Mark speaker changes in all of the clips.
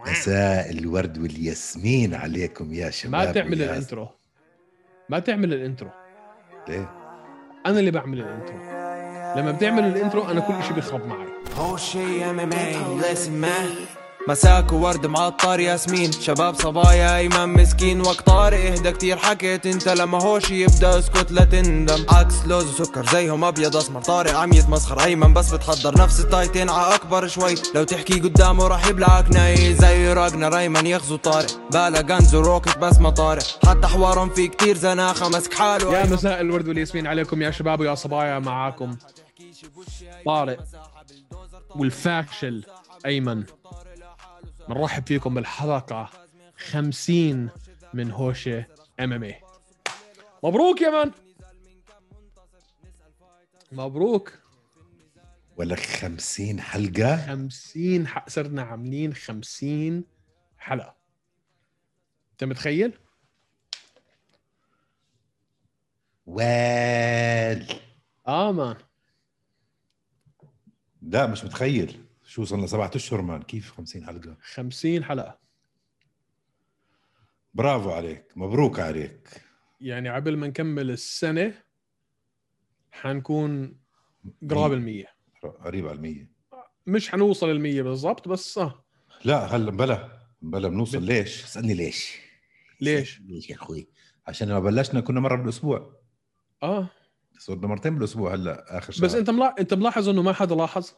Speaker 1: مساء الورد والياسمين عليكم يا شباب
Speaker 2: ما تعمل
Speaker 1: ويا-
Speaker 2: الانترو ما تعمل الانترو
Speaker 1: ليه؟
Speaker 2: انا اللي بعمل الانترو لما بتعمل الانترو انا كل شيء بيخرب معي
Speaker 3: هو شي ام ام لسن مان مساك وورد معطر ياسمين شباب صبايا ايمن مسكين وقت طارق اهدى كتير حكيت انت لما هوش يبدا اسكت لا تندم عكس لوز وسكر زيهم ابيض اسمر طارق عم يتمسخر ايمن بس بتحضر نفس التايتين ع اكبر شوي لو تحكي قدامه راح يبلعك ناي زي راجنا ريمان يغزو طارق بالا غنز وروكت بس ما طارق حتى حوارهم في كتير زناخه مسك حاله
Speaker 2: يا مساء الورد والياسمين عليكم يا شباب ويا صبايا معاكم طارق والفاشل ايمن بنرحب فيكم بالحلقه 50 من هوشه ام ام إيه. مبروك يا من مبروك
Speaker 1: ولا خمسين حلقة
Speaker 2: 50 ح- صرنا عاملين 50 حلقه انت متخيل؟
Speaker 1: وال
Speaker 2: اه مان
Speaker 1: لا مش متخيل شو وصلنا سبعة أشهر مان كيف خمسين حلقة
Speaker 2: 50 حلقه
Speaker 1: برافو عليك مبروك عليك
Speaker 2: يعني قبل ما نكمل السنه حنكون قراب المية
Speaker 1: قريب على المية
Speaker 2: مش حنوصل المية بالضبط بس اه
Speaker 1: لا هلا بلا بلا بنوصل ليش اسألني ليش
Speaker 2: ليش؟
Speaker 1: ليش يا أخوي عشان لما بلشنا كنا مرة بالأسبوع
Speaker 2: اه
Speaker 1: صرنا مرتين بالأسبوع هلا آخر شهر
Speaker 2: بس انت ملا... انت ملاحظ انه ما حدا لاحظ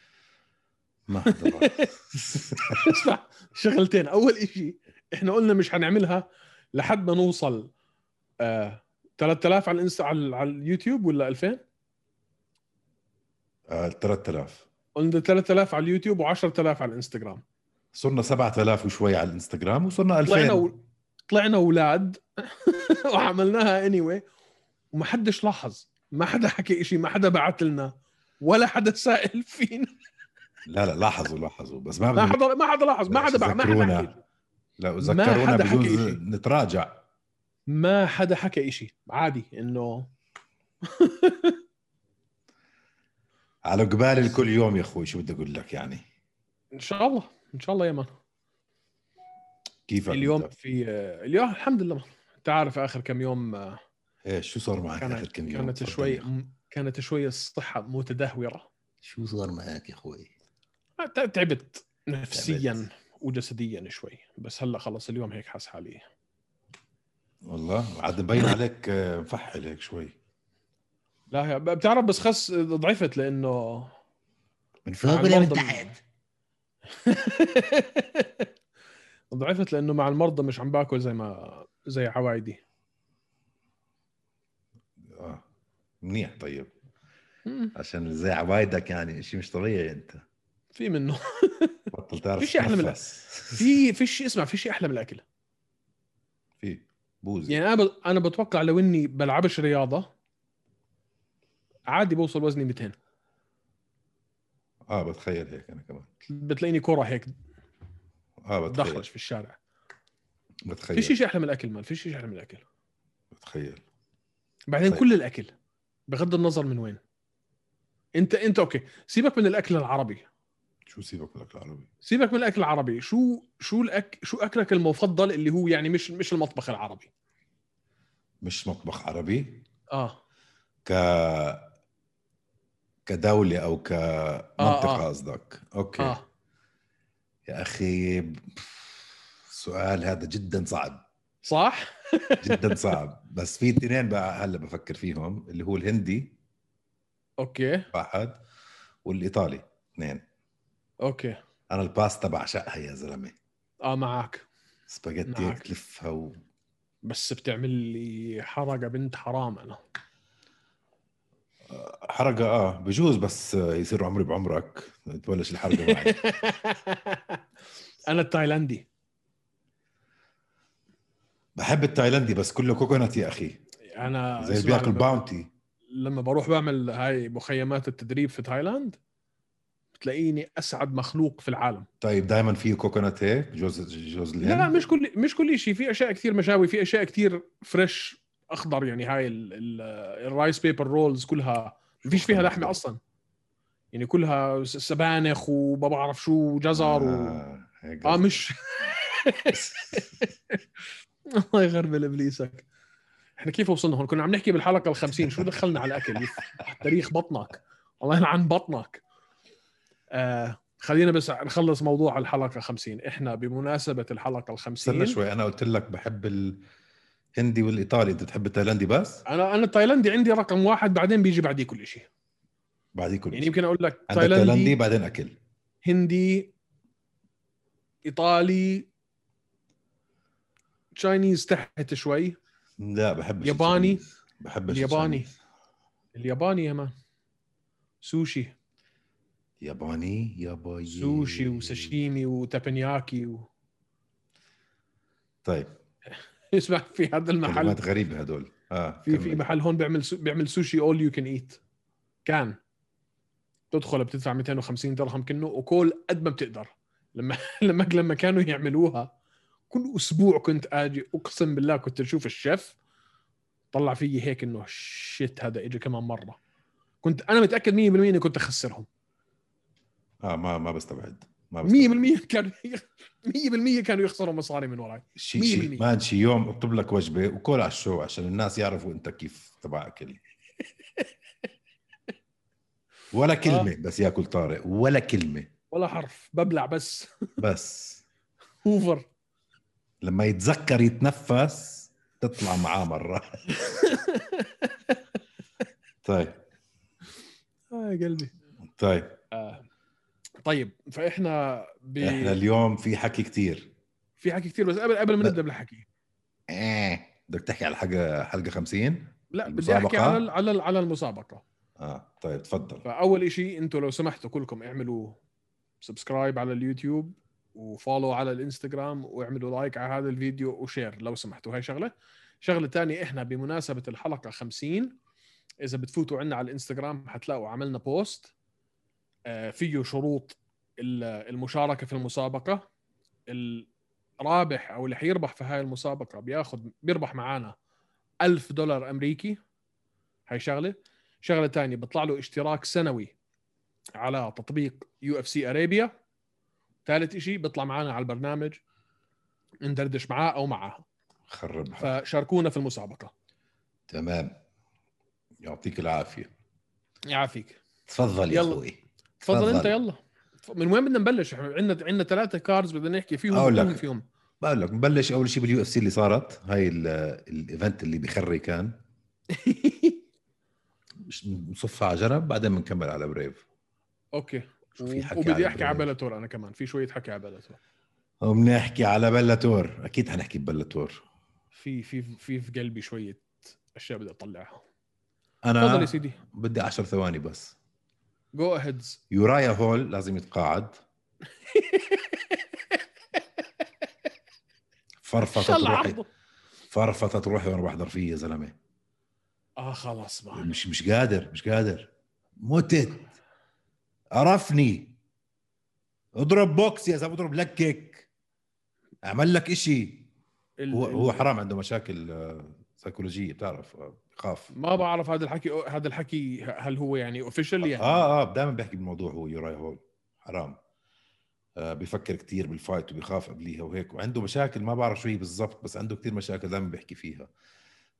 Speaker 1: ما حدا راح.
Speaker 2: اسمع شغلتين اول إشي احنا قلنا مش حنعملها لحد ما نوصل آه 3000 على الانستا على, على اليوتيوب ولا 2000
Speaker 1: آه، 3000
Speaker 2: قلنا 3000 على اليوتيوب و10000 على الانستغرام
Speaker 1: صرنا 7000 وشوي على الانستغرام وصرنا 2000
Speaker 2: طلعنا و... طلعنا اولاد وعملناها اني anyway وما حدش لاحظ ما حدا حكى إشي ما حدا بعت لنا ولا حدا سائل فينا
Speaker 1: لا لا لاحظوا لاحظوا بس ما
Speaker 2: ما
Speaker 1: بدنا
Speaker 2: حدا ما حدا لاحظ ما حدا بعت ما حدا حكى
Speaker 1: ذكرونا. لو
Speaker 2: ما
Speaker 1: ذكرونا
Speaker 2: حدا حكى
Speaker 1: بجوز
Speaker 2: إشي.
Speaker 1: نتراجع
Speaker 2: ما حدا حكى إشي عادي انه
Speaker 1: على قبال الكل يوم يا اخوي شو بدي اقول لك يعني
Speaker 2: ان شاء الله ان شاء الله يا مان
Speaker 1: طيب، كيفك
Speaker 2: اليوم
Speaker 1: أنت؟
Speaker 2: في اليوم الحمد لله انت عارف اخر كم يوم آه،
Speaker 1: ايش إيه، شو صار معك اخر
Speaker 2: كانت
Speaker 1: كم يوم
Speaker 2: كانت
Speaker 1: تفضل.
Speaker 2: شوي كانت شوي الصحه متدهوره
Speaker 1: شو صار معك يا اخوي
Speaker 2: تعبت نفسيا وجسديا شوي بس هلا خلص اليوم هيك حاس حالي
Speaker 1: والله عاد مبين عليك آه، مفحل هيك شوي
Speaker 2: لا هي- بتعرف بس خس ضعفت لانه
Speaker 1: من
Speaker 2: مع المرضى- ضعفت لانه مع المرضى مش عم باكل زي ما زي عوايدي
Speaker 1: اه منيح طيب
Speaker 2: مم،
Speaker 1: عشان زي عبايدك يعني شيء مش طبيعي انت
Speaker 2: في منه
Speaker 1: بطل تعرف
Speaker 2: في شي أحلى من
Speaker 1: في
Speaker 2: في في شيء اسمع في شيء احلى من الاكل
Speaker 1: في بوز
Speaker 2: يعني انا ب- انا بتوقع لو اني بلعبش رياضه عادي بوصل وزني 200
Speaker 1: اه بتخيل هيك انا كمان
Speaker 2: بتلاقيني كره هيك
Speaker 1: اه بتخيل
Speaker 2: دخلش في الشارع
Speaker 1: بتخيل
Speaker 2: في شيء احلى من الاكل ما في شيء احلى من الاكل
Speaker 1: بتخيل
Speaker 2: بعدين
Speaker 1: طيب.
Speaker 2: كل الاكل بغض النظر من وين انت انت اوكي سيبك من الاكل العربي
Speaker 1: شو سيبك لك العربي
Speaker 2: سيبك من الاكل العربي شو شو الأك... شو اكلك المفضل اللي هو يعني مش مش المطبخ العربي
Speaker 1: مش مطبخ عربي آه،
Speaker 2: اه
Speaker 1: ك كدولة أو كمنطقة
Speaker 2: آه.
Speaker 1: قصدك أوكي
Speaker 2: اه
Speaker 1: يا أخي السؤال هذا جدا صعب
Speaker 2: صح
Speaker 1: جدا صعب بس في اثنين بقى هلا بفكر فيهم اللي هو الهندي
Speaker 2: اوكي
Speaker 1: واحد والإيطالي اثنين
Speaker 2: اوكي
Speaker 1: أنا الباستا بعشقها يا زلمة
Speaker 2: اه معك
Speaker 1: سباجيتي
Speaker 2: معك.
Speaker 1: هيك تلفها و...
Speaker 2: بس بتعمل لي حرقه بنت حرام انا
Speaker 1: حرقة اه بجوز بس يصير عمري بعمرك تبلش الحرقة معي
Speaker 2: انا التايلاندي
Speaker 1: بحب التايلندي بس كله كوكونات يا اخي
Speaker 2: انا
Speaker 1: زي اللي
Speaker 2: اسمع،
Speaker 1: بياكل
Speaker 2: لما-
Speaker 1: باونتي
Speaker 2: لما بروح بعمل هاي مخيمات التدريب في تايلاند بتلاقيني اسعد مخلوق في العالم
Speaker 1: طيب دائما فيه كوكونات هيك جوز جوز الهند
Speaker 2: لا لا مش كل مش كل شيء في اشياء كثير مشاوي في اشياء كثير فريش اخضر يعني هاي ال- ال- الرايس بيبر رولز كلها ما فيش فيها لحمه اصلا يعني كلها س- سبانخ وما بعرف شو جزر و...
Speaker 1: آه هيك
Speaker 2: اه مش الله يغربل ابليسك احنا كيف وصلنا هون كنا عم نحكي بالحلقه ال50 شو دخلنا على الاكل يف- تاريخ بطنك الله يلعن بطنك آه خلينا بس نخلص موضوع الحلقه 50 احنا بمناسبه الحلقه
Speaker 1: استنى
Speaker 2: ال50
Speaker 1: شوي انا قلت لك بحب الهندي والايطالي انت بتحب التايلاندي بس
Speaker 2: انا انا التايلندي عندي رقم واحد بعدين بيجي بعديه كل شيء
Speaker 1: بعد كل
Speaker 2: يعني
Speaker 1: شيء.
Speaker 2: يمكن اقول لك
Speaker 1: عندك تايلاندي
Speaker 2: تايلندي
Speaker 1: بعدين اكل
Speaker 2: هندي ايطالي تشاينيز تحت شوي
Speaker 1: لا بحب
Speaker 2: ياباني.
Speaker 1: بحب
Speaker 2: الياباني الياباني يا مان سوشي
Speaker 1: ياباني ياباني
Speaker 2: سوشي وساشيمي وتابنياكي و...
Speaker 1: طيب
Speaker 2: اسمع في هذا المحل
Speaker 1: كلمات غريبه هدول اه
Speaker 2: في
Speaker 1: كمل.
Speaker 2: في محل هون بيعمل سو... بيعمل سوشي اول يو كان ايت كان تدخل بتدفع 250 درهم كنه وكل قد ما بتقدر لما لما لما كانوا يعملوها كل اسبوع كنت اجي اقسم بالله كنت اشوف الشيف طلع فيي هيك انه شيت هذا اجى كمان مره كنت انا متاكد 100% اني كنت اخسرهم
Speaker 1: اه ما ما بستبعد ما
Speaker 2: 100% كانوا 100% كانوا يخسروا مصاري من وراي
Speaker 1: شيء
Speaker 2: مية
Speaker 1: شيء
Speaker 2: بالمية.
Speaker 1: مان شيء يوم اطلب لك وجبه وكل على الشو عشان الناس يعرفوا انت كيف تبع اكل
Speaker 2: آه.
Speaker 1: ولا كلمه بس ياكل طارق ولا كلمه
Speaker 2: ولا حرف ببلع بس
Speaker 1: بس
Speaker 2: اوفر
Speaker 1: لما يتذكر يتنفس تطلع معاه مره طيب
Speaker 2: آه يا قلبي
Speaker 1: طيب
Speaker 2: آه. طيب فاحنا ب...
Speaker 1: احنا
Speaker 2: احنا
Speaker 1: اليوم في حكي كتير
Speaker 2: في حكي كثير بس قبل قبل ما
Speaker 1: لا.
Speaker 2: نبدا بالحكي
Speaker 1: ايه بدك تحكي على حلقه حلقه 50
Speaker 2: لا بدي
Speaker 1: المسابقة؟
Speaker 2: احكي على ال- على ال- على المسابقه
Speaker 1: اه طيب تفضل
Speaker 2: فاول شيء انتم لو سمحتوا كلكم اعملوا سبسكرايب على اليوتيوب وفولو على الانستغرام واعملوا لايك على هذا الفيديو وشير لو سمحتوا هاي شغله شغله تانية احنا بمناسبه الحلقه 50 اذا بتفوتوا عنا على الانستغرام حتلاقوا عملنا بوست آه، فيه شروط ال- المشاركه في المسابقه الرابح او اللي حيربح في هاي المسابقه بياخذ بيربح معانا ألف دولار امريكي هاي شغله شغله تانية بيطلع له اشتراك سنوي على تطبيق يو اف سي ارابيا ثالث شيء بيطلع معانا على البرنامج ندردش معاه او معاها
Speaker 1: خربها
Speaker 2: فشاركونا في المسابقه
Speaker 1: تمام يعطيك العافيه
Speaker 2: يعافيك
Speaker 1: تفضل يا
Speaker 2: يلا.
Speaker 1: اخوي
Speaker 2: تفضل
Speaker 1: تفضل.
Speaker 2: انت يلا من وين بدنا نبلش احنا عندنا عندنا ثلاثه كاردز بدنا نحكي فيهم
Speaker 1: أقول
Speaker 2: كلهم
Speaker 1: لك.
Speaker 2: فيهم
Speaker 1: بقول لك نبلش اول شيء باليو اف سي اللي صارت هاي ال- الايفنت اللي بخري كان مش- نصفها على جنب بعدين بنكمل على بريف
Speaker 2: اوكي
Speaker 1: شو في حكي
Speaker 2: وبدي
Speaker 1: على
Speaker 2: احكي على
Speaker 1: بريف؟
Speaker 2: بلاتور انا كمان في شويه حكي على بلاتور
Speaker 1: وبنحكي على بلاتور اكيد حنحكي ببلاتور
Speaker 2: في في في في قلبي شويه اشياء بدي اطلعها تفضل يا
Speaker 1: انا
Speaker 2: سيدي
Speaker 1: بدي 10 ثواني بس
Speaker 2: جو اهيدز
Speaker 1: يورايا هول لازم يتقاعد فرفطت روحي
Speaker 2: شلعب
Speaker 1: فرفطت روحي وانا بحضر فيه يا زلمه
Speaker 2: اه خلاص ما
Speaker 1: آه، مش مش قادر مش قادر متت قرفني اضرب بوكس يا زلمه اضرب لكك اعمل لك إشي
Speaker 2: ال-
Speaker 1: هو
Speaker 2: ال-
Speaker 1: هو حرام عنده مشاكل آه، سيكولوجيه بتعرف آه، بخاف
Speaker 2: ما بعرف هذا الحكي هذا الحكي هل هو يعني اوفيشال يعني
Speaker 1: اه اه دائما بيحكي بالموضوع هو يوراي هول حرام آه بيفكر كتير بالفايت وبيخاف قبليها وهيك وعنده مشاكل ما بعرف شو هي بالضبط بس عنده كتير مشاكل دائما بيحكي فيها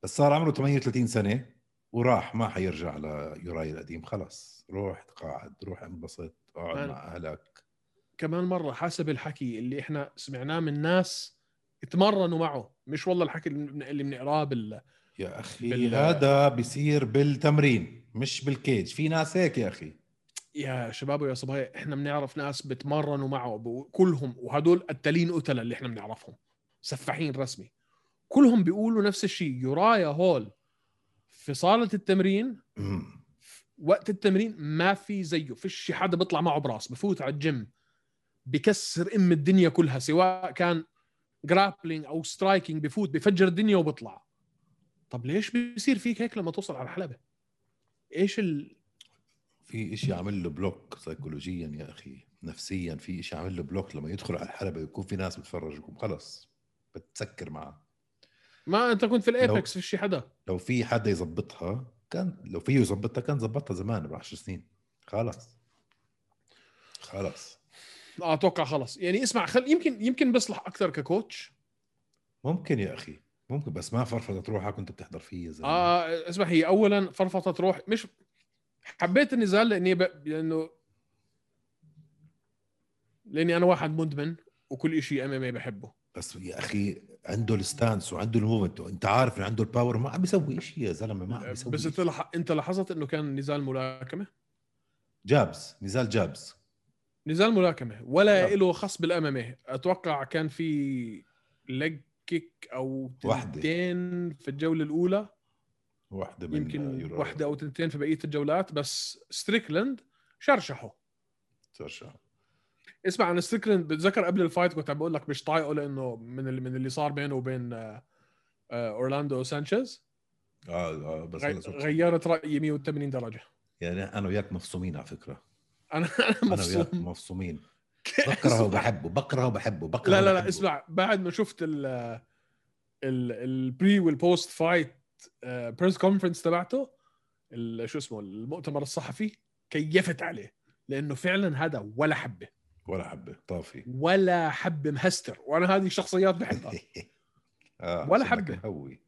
Speaker 1: بس صار عمره 38 سنه وراح ما حيرجع ليوراي القديم خلص روح تقاعد روح انبسط اقعد
Speaker 2: مان.
Speaker 1: مع اهلك
Speaker 2: كمان مره حسب الحكي اللي احنا سمعناه من ناس اتمرنوا معه مش والله الحكي اللي بن- اللي بنقراه بال
Speaker 1: يا اخي
Speaker 2: بال-
Speaker 1: هذا بيصير بالتمرين مش بالكيج في ناس هيك يا اخي
Speaker 2: يا شباب ويا صبايا احنا بنعرف ناس بتمرنوا معه ب- كلهم وهدول قتالين قتلة اللي احنا بنعرفهم سفاحين رسمي كلهم بيقولوا نفس الشيء يورايا هول في صاله التمرين
Speaker 1: أمم.
Speaker 2: وقت التمرين ما في زيه فيش حدا بيطلع معه براس بفوت على الجيم بكسر ام الدنيا كلها سواء كان جرابلينج او سترايكينج بفوت بفجر الدنيا وبطلع طب ليش بيصير فيك هيك لما توصل على الحلبه ايش ال...
Speaker 1: في اشي عامل له بلوك سيكولوجيا يا اخي نفسيا في اشي عامل له بلوك لما يدخل على الحلبة يكون في ناس بتفرجكم خلص بتسكر معه
Speaker 2: ما انت كنت في
Speaker 1: لو-
Speaker 2: الايبكس في شي حدا
Speaker 1: لو في حدا يظبطها كان لو فيه يظبطها كان ظبطها زمان ب 10 سنين خلص خلص
Speaker 2: اه اتوقع خلص يعني اسمع خل يمكن يمكن بيصلح اكثر ككوتش
Speaker 1: ممكن يا اخي ممكن بس ما فرفضت روحك وانت بتحضر فيه يا زلمه
Speaker 2: اه اسمع هي اولا فرفطت روح مش حبيت النزال لاني ب... لانه لاني انا واحد مدمن وكل شيء ام ام اي إيه بحبه
Speaker 1: بس يا اخي عنده الستانس وعنده الموفمنت وانت عارف انه عنده الباور ما عم بيسوي شيء يا زلمه ما عم بيسوي
Speaker 2: بس انت
Speaker 1: إشي.
Speaker 2: لح... انت لاحظت انه كان نزال ملاكمه
Speaker 1: جابز نزال جابز
Speaker 2: نزال ملاكمه ولا
Speaker 1: لا.
Speaker 2: له خص بالامامي اتوقع كان في لج كيك او
Speaker 1: واحدة.
Speaker 2: تنتين في الجوله الاولى
Speaker 1: واحده من
Speaker 2: يمكن
Speaker 1: يورو-
Speaker 2: واحده او تنتين في بقيه الجولات بس ستريكلند شرشحه
Speaker 1: ترشح
Speaker 2: اسمع عن ستريكلند بتذكر قبل الفايت كنت عم بقول لك مش طايقه لانه من اللي من اللي صار بينه وبين آه، آه، اورلاندو سانشيز
Speaker 1: اه اه بس
Speaker 2: غي-
Speaker 1: خلص وقت.
Speaker 2: غيرت رايي 180 درجه
Speaker 1: يعني انا وياك مفصومين على فكره
Speaker 2: انا انا
Speaker 1: انا وياك
Speaker 2: مبسوط
Speaker 1: مفصومين بكرهه وبحبه بكرهه وبحبه بكرهه
Speaker 2: لا لا
Speaker 1: وبحبه.
Speaker 2: لا اسمع بعد ما شفت ال ال البري والبوست فايت بريس كونفرنس آه، تبعته ال- شو اسمه المؤتمر الصحفي كيفت عليه لانه فعلا هذا ولا حبه
Speaker 1: ولا حبه طافي
Speaker 2: ولا حبه مهستر وانا هذه الشخصيات بحبها
Speaker 1: آه
Speaker 2: ولا
Speaker 1: عشان
Speaker 2: حبة.
Speaker 1: بدك هوي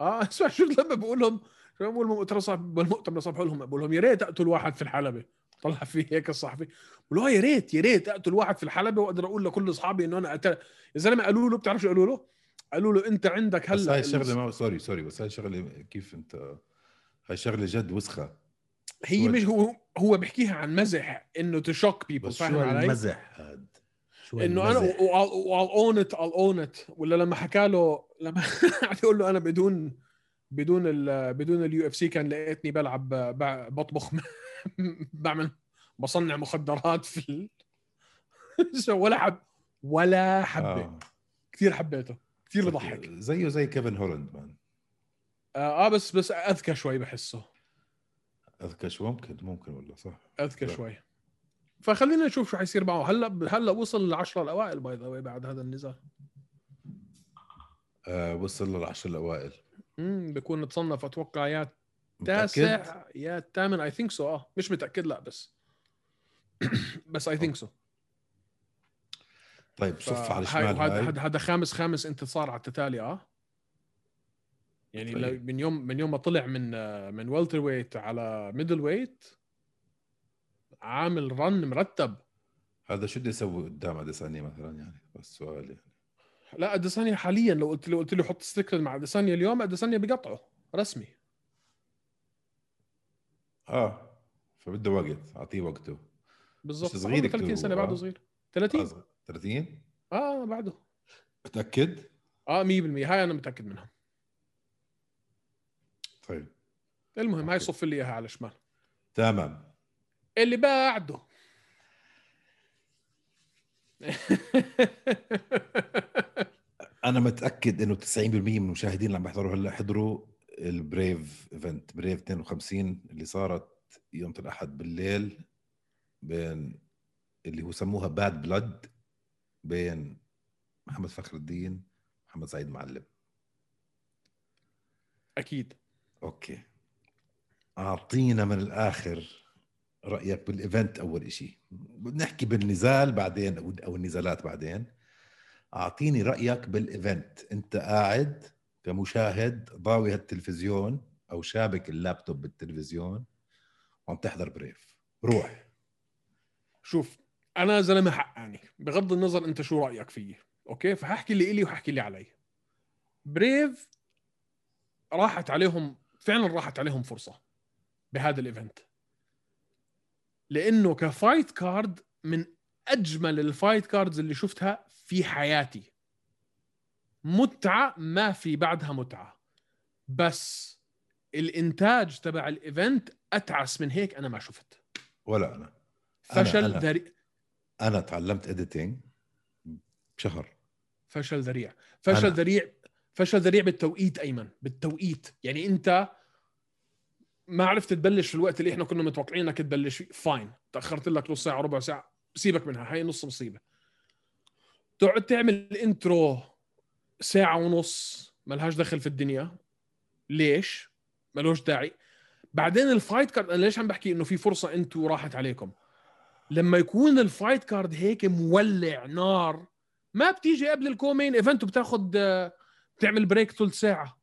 Speaker 1: اسمع
Speaker 2: اه اسمع شو لما بقول لهم شو لما بقول المؤتمر صاحب بالمؤتمر صاحب لهم بقول لهم يا ريت اقتل واحد في الحلبه طلع في هيك الصحفي بقول له آه يا ريت يا ريت اقتل واحد في الحلبه واقدر اقول لكل اصحابي انه انا قتل يا زلمه قالوا له بتعرف شو قالوا له؟ قالوا له انت عندك
Speaker 1: بس
Speaker 2: هلا
Speaker 1: هاي
Speaker 2: الس-
Speaker 1: الشغله ما سوري سوري بس هاي الشغله كيف انت هاي الشغله جد وسخه
Speaker 2: هي
Speaker 1: شو
Speaker 2: مش هو هو بيحكيها عن مزح انه تو شوك بيبل
Speaker 1: بس شو
Speaker 2: فاهم علي؟
Speaker 1: المزح هاد شو
Speaker 2: انه انا
Speaker 1: هالمزح؟
Speaker 2: وال اون ات ال اون ات ولا لما حكى له لما قعد يقول له انا بدون بدون ال بدون اليو اف سي كان لقيتني بلعب ب- بطبخ بعمل بصنع مخدرات في ال... ولا حب ولا حبه آه.
Speaker 1: آه.
Speaker 2: كثير حبيته كثير بضحك
Speaker 1: زيه زي كيفن هولند مان
Speaker 2: آه, اه بس بس اذكى شوي بحسه
Speaker 1: اذكى شو ممكن ممكن والله صح
Speaker 2: اذكى
Speaker 1: لا.
Speaker 2: شوي فخلينا نشوف شو حيصير معه هلا هلا وصل للعشرة الاوائل باي ذا بعد هذا النزال
Speaker 1: آه وصل للعشر الاوائل
Speaker 2: امم بكون تصنف اتوقع يا
Speaker 1: متأكد؟
Speaker 2: التاسع يا الثامن اي ثينك سو اه مش متاكد لا بس بس اي ثينك سو
Speaker 1: طيب صف على الشمال هاي
Speaker 2: هذا هذا خامس خامس انتصار على التتالي اه يعني
Speaker 1: طيب.
Speaker 2: لو- من يوم من يوم ما طلع من آه، من welter ويت على ميدل ويت عامل رن مرتب
Speaker 1: هذا شو بده يسوي قدام اديسانيا مثلا يعني بس سؤال يعني
Speaker 2: لا اديسانيا حاليا لو قلت لو قلت له حط ستيكر مع اديسانيا اليوم اديسانيا بقطعه رسمي
Speaker 1: اه فبده وقت اعطيه وقته
Speaker 2: بالضبط
Speaker 1: بس صغير
Speaker 2: عمره 30
Speaker 1: كتير
Speaker 2: سنه
Speaker 1: هو، آه.
Speaker 2: بعده صغير 30
Speaker 1: أصغر. 30
Speaker 2: اه بعده
Speaker 1: متاكد
Speaker 2: اه 100% هاي انا متاكد منها
Speaker 1: طيب
Speaker 2: المهم هاي
Speaker 1: أوكي.
Speaker 2: صف لي اياها على الشمال
Speaker 1: تمام
Speaker 2: اللي بعده
Speaker 1: انا متاكد انه 90% من المشاهدين اللي عم بيحضروا هلا حضروا البريف ايفنت بريف 52 اللي صارت يوم الاحد بالليل بين اللي هو سموها باد بلاد بين محمد فخر الدين محمد سعيد معلم
Speaker 2: اكيد
Speaker 1: اوكي اعطينا من الاخر رايك بالايفنت اول إشي بنحكي بالنزال بعدين او أو النزالات بعدين اعطيني رايك بالايفنت انت قاعد كمشاهد ضاوي هالتلفزيون او شابك اللابتوب بالتلفزيون وعم تحضر بريف روح
Speaker 2: شوف انا زلمه حقاني بغض النظر انت شو رايك فيي اوكي فهحكي اللي الي وهحكي اللي علي بريف راحت عليهم فعلا راحت عليهم فرصه بهذا الايفنت لانه كفايت كارد من اجمل الفايت كاردز اللي شفتها في حياتي متعه ما في بعدها متعه بس الانتاج تبع الايفنت اتعس من هيك انا ما شفت
Speaker 1: ولا انا أنا-
Speaker 2: فشل
Speaker 1: أنا.
Speaker 2: ذريع
Speaker 1: انا تعلمت اديتنج بشهر
Speaker 2: فشل ذريع فشل
Speaker 1: أنا-
Speaker 2: ذريع فشل ذريع بالتوقيت ايمن بالتوقيت يعني انت ما عرفت تبلش في الوقت اللي احنا كنا متوقعين انك تبلش فيه فاين تاخرت لك نص ساعه ربع ساعه سيبك منها هاي نص مصيبه تقعد تعمل انترو ساعه ونص ملهاش دخل في الدنيا ليش ملوش داعي بعدين الفايت كارد انا ليش عم بحكي انه في فرصه انتوا راحت عليكم لما يكون الفايت كارد هيك مولع نار ما بتيجي قبل الكومين ايفنت وبتاخد آه، بتعمل بريك ثلث ساعه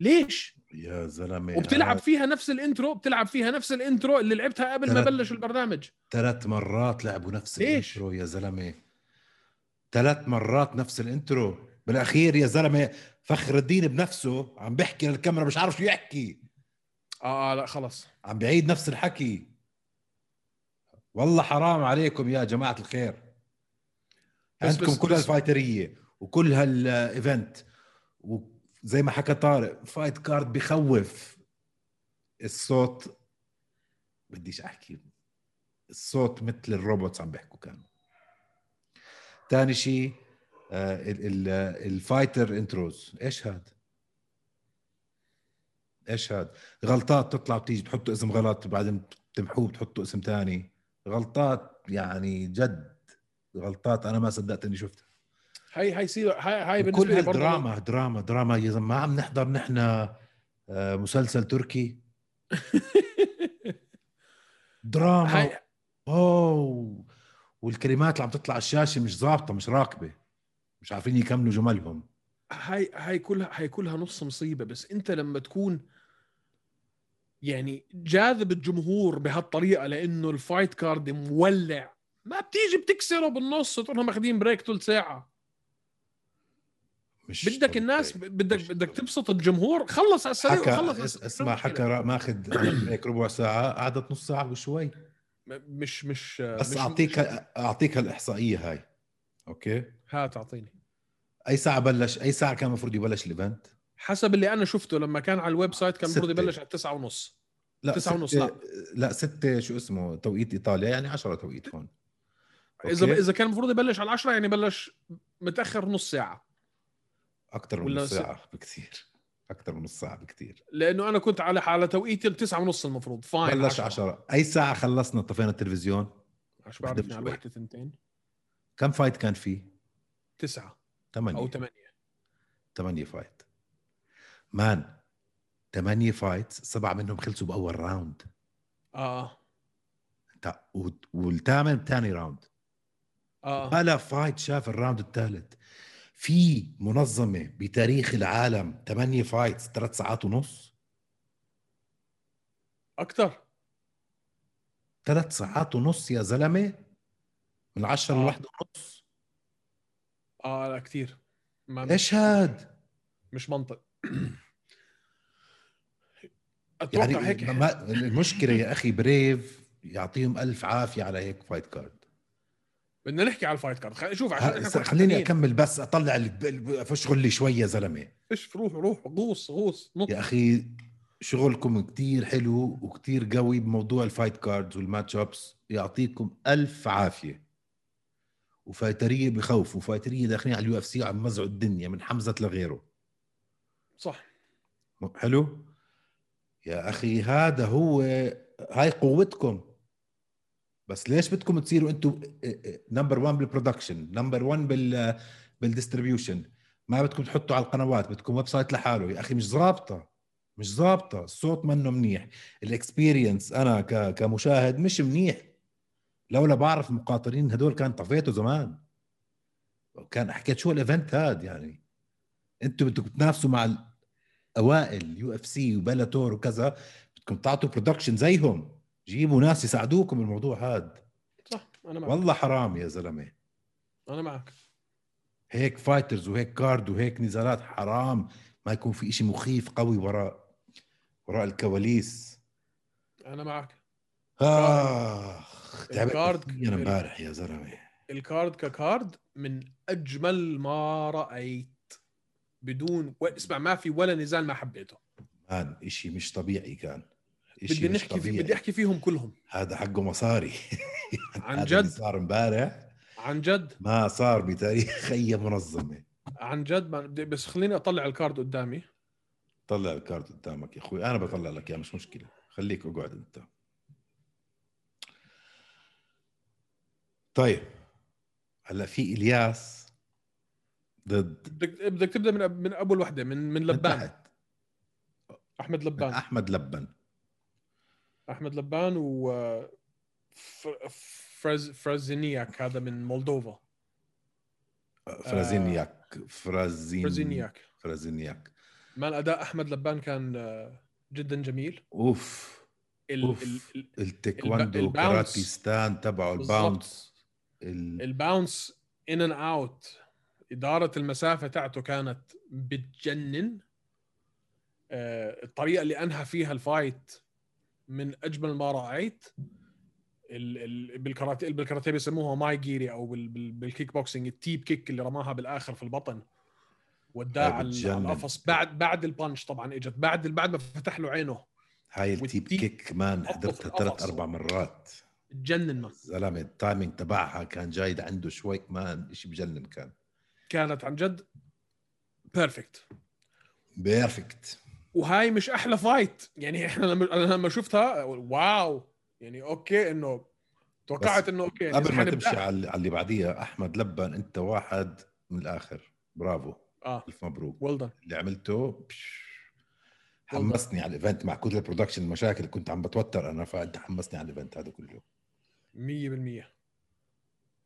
Speaker 2: ليش
Speaker 1: يا زلمه
Speaker 2: وبتلعب
Speaker 1: يعني أنا
Speaker 2: فيها نفس الانترو بتلعب فيها نفس الانترو اللي لعبتها قبل ما
Speaker 1: تلات-
Speaker 2: بلش البرنامج
Speaker 1: ثلاث مرات لعبوا نفس
Speaker 2: ليش؟
Speaker 1: الانترو يا زلمه ثلاث مرات نفس الانترو بالاخير يا زلمه فخر الدين بنفسه عم بيحكي للكاميرا مش عارف شو يحكي
Speaker 2: اه, آه لا خلص
Speaker 1: عم بعيد نفس الحكي والله حرام عليكم يا جماعه الخير
Speaker 2: بس-
Speaker 1: عندكم
Speaker 2: بس-
Speaker 1: كل
Speaker 2: بس-
Speaker 1: هالفايتريه وكل هالايفنت وزي ما حكى طارق فايت كارد بخوف الصوت بديش احكي الصوت مثل الروبوتس عم بيحكوا كانوا ثاني شيء آه، ال- ال- آه، الفايتر انتروز ايش هاد ايش هاد غلطات تطلع بتيجي بتحطوا اسم غلط بعدين بتمحوه بتحطوا اسم تاني غلطات يعني جد غلطات انا ما صدقت اني شفتها
Speaker 2: هاي هاي سي هاي هاي بالنسبه طيب، لي
Speaker 1: كلها
Speaker 2: برضه
Speaker 1: دراما دراما دراما يا زلمه ما عم نحضر نحن آه، مسلسل تركي دراما
Speaker 2: هاي
Speaker 1: اوه والكلمات اللي عم تطلع على الشاشه مش ظابطه مش راكبه مش عارفين يكملوا جملهم
Speaker 2: هاي هاي كلها هاي كلها نص مصيبه بس انت لما تكون يعني جاذب الجمهور بهالطريقه لانه الفايت كارد مولع ما بتيجي بتكسره بالنص تقول لهم اخذين بريك ثلث ساعه
Speaker 1: مش
Speaker 2: بدك الناس
Speaker 1: طبيعي.
Speaker 2: بدك
Speaker 1: مش
Speaker 2: بدك
Speaker 1: طبيعي.
Speaker 2: تبسط الجمهور خلص على السريع وخلص
Speaker 1: حكى
Speaker 2: على
Speaker 1: اس-
Speaker 2: السريع.
Speaker 1: اسمع
Speaker 2: شو
Speaker 1: حكى
Speaker 2: المشكلة؟
Speaker 1: را- ماخذ هيك ربع ساعه قعدت نص ساعه وشوي
Speaker 2: م- مش مش
Speaker 1: بس
Speaker 2: مش
Speaker 1: اعطيك اعطيك الاحصائيه هاي اوكي
Speaker 2: هات اعطيني
Speaker 1: اي ساعه بلش اي ساعه كان المفروض يبلش الايفنت
Speaker 2: حسب اللي انا شفته لما كان على الويب سايت كان المفروض
Speaker 1: ستة.
Speaker 2: يبلش على 9 ونص
Speaker 1: لا
Speaker 2: تسعة ونص،
Speaker 1: ستة-
Speaker 2: لا.
Speaker 1: لا ستة شو اسمه توقيت ايطاليا يعني 10 توقيت هون
Speaker 2: اذا
Speaker 1: أوكي.
Speaker 2: اذا كان المفروض يبلش على 10 يعني بلش متاخر نص ساعه
Speaker 1: اكثر من
Speaker 2: ولا
Speaker 1: نص
Speaker 2: ست-
Speaker 1: ساعه بكثير اكثر من نص ساعه بكثير
Speaker 2: لانه انا كنت على على توقيتي ال 9 ونص المفروض فاين
Speaker 1: بلش 10 اي ساعه خلصنا طفينا التلفزيون
Speaker 2: شو
Speaker 1: وحدة
Speaker 2: بعرفني على
Speaker 1: وشوي.
Speaker 2: الوحده ثنتين
Speaker 1: كم فايت كان فيه
Speaker 2: تسعه او
Speaker 1: 8
Speaker 2: ثمانيه
Speaker 1: 8 فايت مان 8 فايت سبعه منهم خلصوا باول راوند
Speaker 2: اه
Speaker 1: تا- و- والثامن بثاني راوند
Speaker 2: اه
Speaker 1: ولا فايت شاف الراوند الثالث في منظمه بتاريخ العالم 8 فايتس ثلاث ساعات ونص
Speaker 2: اكثر
Speaker 1: ثلاث ساعات ونص يا زلمه من 10
Speaker 2: آه.
Speaker 1: لواحدة ونص
Speaker 2: اه لا كثير ما
Speaker 1: ايش هاد
Speaker 2: مش منطق اتوقع
Speaker 1: يعني
Speaker 2: هيك
Speaker 1: ما المشكله يا اخي بريف يعطيهم الف عافيه على هيك فايت كارد
Speaker 2: بدنا نحكي على الفايت كارد خلينا شوف عشان
Speaker 1: ه-
Speaker 2: إحنا
Speaker 1: س-
Speaker 2: كنا
Speaker 1: خليني
Speaker 2: مستنيين.
Speaker 1: اكمل بس اطلع ال- ال- افش غلي شوي يا زلمه
Speaker 2: ايش روح روح غوص غوص نط
Speaker 1: يا اخي شغلكم كتير حلو وكتير قوي بموضوع الفايت كاردز والماتش ابس يعطيكم الف عافيه وفايتريه بخوف وفايتريه داخلين على اليو اف سي وعم مزعوا الدنيا من حمزه لغيره
Speaker 2: صح
Speaker 1: م- حلو يا اخي هذا هو هاي قوتكم بس ليش بدكم تصيروا إيه، انتم نمبر 1 بالبرودكشن نمبر 1 بال بالديستريبيوشن ما بدكم تحطوا على القنوات بدكم ويب سايت لحاله يا اخي مش ظابطه مش ظابطه الصوت منه منيح الاكسبيرينس انا ك... كمشاهد مش منيح لولا بعرف المقاطرين هدول كان طفيته زمان كان حكيت شو الايفنت هاد يعني انتم بدكم تنافسوا مع الاوائل يو اف سي وبلاتور وكذا بدكم تعطوا برودكشن زيهم جيبوا ناس يساعدوكم بالموضوع هاد
Speaker 2: صح انا معك
Speaker 1: والله حرام يا زلمه
Speaker 2: انا معك
Speaker 1: هيك فايترز وهيك كارد وهيك نزالات حرام ما يكون في إشي مخيف قوي وراء وراء الكواليس
Speaker 2: انا معك
Speaker 1: اخ تعبت
Speaker 2: الكارد-
Speaker 1: نفسياً انا امبارح يا زلمه
Speaker 2: الكارد ككارد من اجمل ما رايت بدون و... اسمع ما في ولا نزال ما حبيته
Speaker 1: مان إشي مش طبيعي كان إشي
Speaker 2: بدي
Speaker 1: مش
Speaker 2: نحكي في...
Speaker 1: طبيعي.
Speaker 2: بدي احكي فيهم كلهم
Speaker 1: هذا حقه مصاري
Speaker 2: عن
Speaker 1: هذا
Speaker 2: جد.
Speaker 1: اللي صار امبارح
Speaker 2: عن جد
Speaker 1: ما صار بتاريخ اي منظمه
Speaker 2: عن جد ما... بدي- بس خليني اطلع الكارد قدامي
Speaker 1: طلع الكارت قدامك يا اخوي انا بطلع لك اياه مش مشكله خليك اقعد انت طيب هلا في الياس ضد
Speaker 2: بدك بدك تبدا من أب- من اول وحده من من
Speaker 1: من
Speaker 2: لبان
Speaker 1: تحت،
Speaker 2: احمد
Speaker 1: من
Speaker 2: لبان
Speaker 1: احمد لبن
Speaker 2: آه، احمد لبان و ف... ف... فرز فرزينياك هذا من مولدوفا آه.
Speaker 1: فرازينياك فرازين
Speaker 2: فرزينياك
Speaker 1: فرازينياك
Speaker 2: مان اداء احمد لبان كان آه، جدا جميل
Speaker 1: اوف
Speaker 2: ال-
Speaker 1: اوف
Speaker 2: ال-
Speaker 1: التايكوندو
Speaker 2: الب-
Speaker 1: كاراتي
Speaker 2: الباونس.
Speaker 1: ستاند تبعه الباونس
Speaker 2: بالضبط
Speaker 1: ال-
Speaker 2: الباونس ان اند اوت اداره المسافه تاعته كانت بتجنن آه، الطريقه اللي انهى فيها الفايت من اجمل ما رايت ال- ال- بالكاراتيه بالكاراتيه بيسموها ماي جيري او بال- بال- بالكيك بوكسينج التيب كيك اللي رماها بالاخر في البطن وداه
Speaker 1: آه،
Speaker 2: على على
Speaker 1: بتجنن.
Speaker 2: القفص بعد بعد البانش طبعا اجت بعد بعد ما فتح له عينه
Speaker 1: هاي التيب
Speaker 2: والتيب
Speaker 1: كيك مان
Speaker 2: حطه في
Speaker 1: حضرتها
Speaker 2: القفص.
Speaker 1: ثلاث اربع مرات
Speaker 2: تجنن ما
Speaker 1: زلمه التايمينج تبعها كان جايد عنده شوي مان شيء بجنن كان
Speaker 2: كانت عن جد بيرفكت
Speaker 1: بيرفكت
Speaker 2: وهاي مش احلى فايت يعني احنا لما انا لما شفتها واو يعني اوكي انه توقعت
Speaker 1: بس
Speaker 2: انه اوكي يعني
Speaker 1: قبل ما
Speaker 2: إذا
Speaker 1: تمشي
Speaker 2: حنبدأ-
Speaker 1: على على اللي بعديها احمد لبن انت واحد من الاخر برافو
Speaker 2: اه
Speaker 1: الف مبروك
Speaker 2: ويل دون
Speaker 1: اللي عملته بش. حمسني على الايفنت مع كل البرودكشن مشاكل كنت عم بتوتر انا فانت حمسني على الايفنت هذا كله
Speaker 2: 100% اللي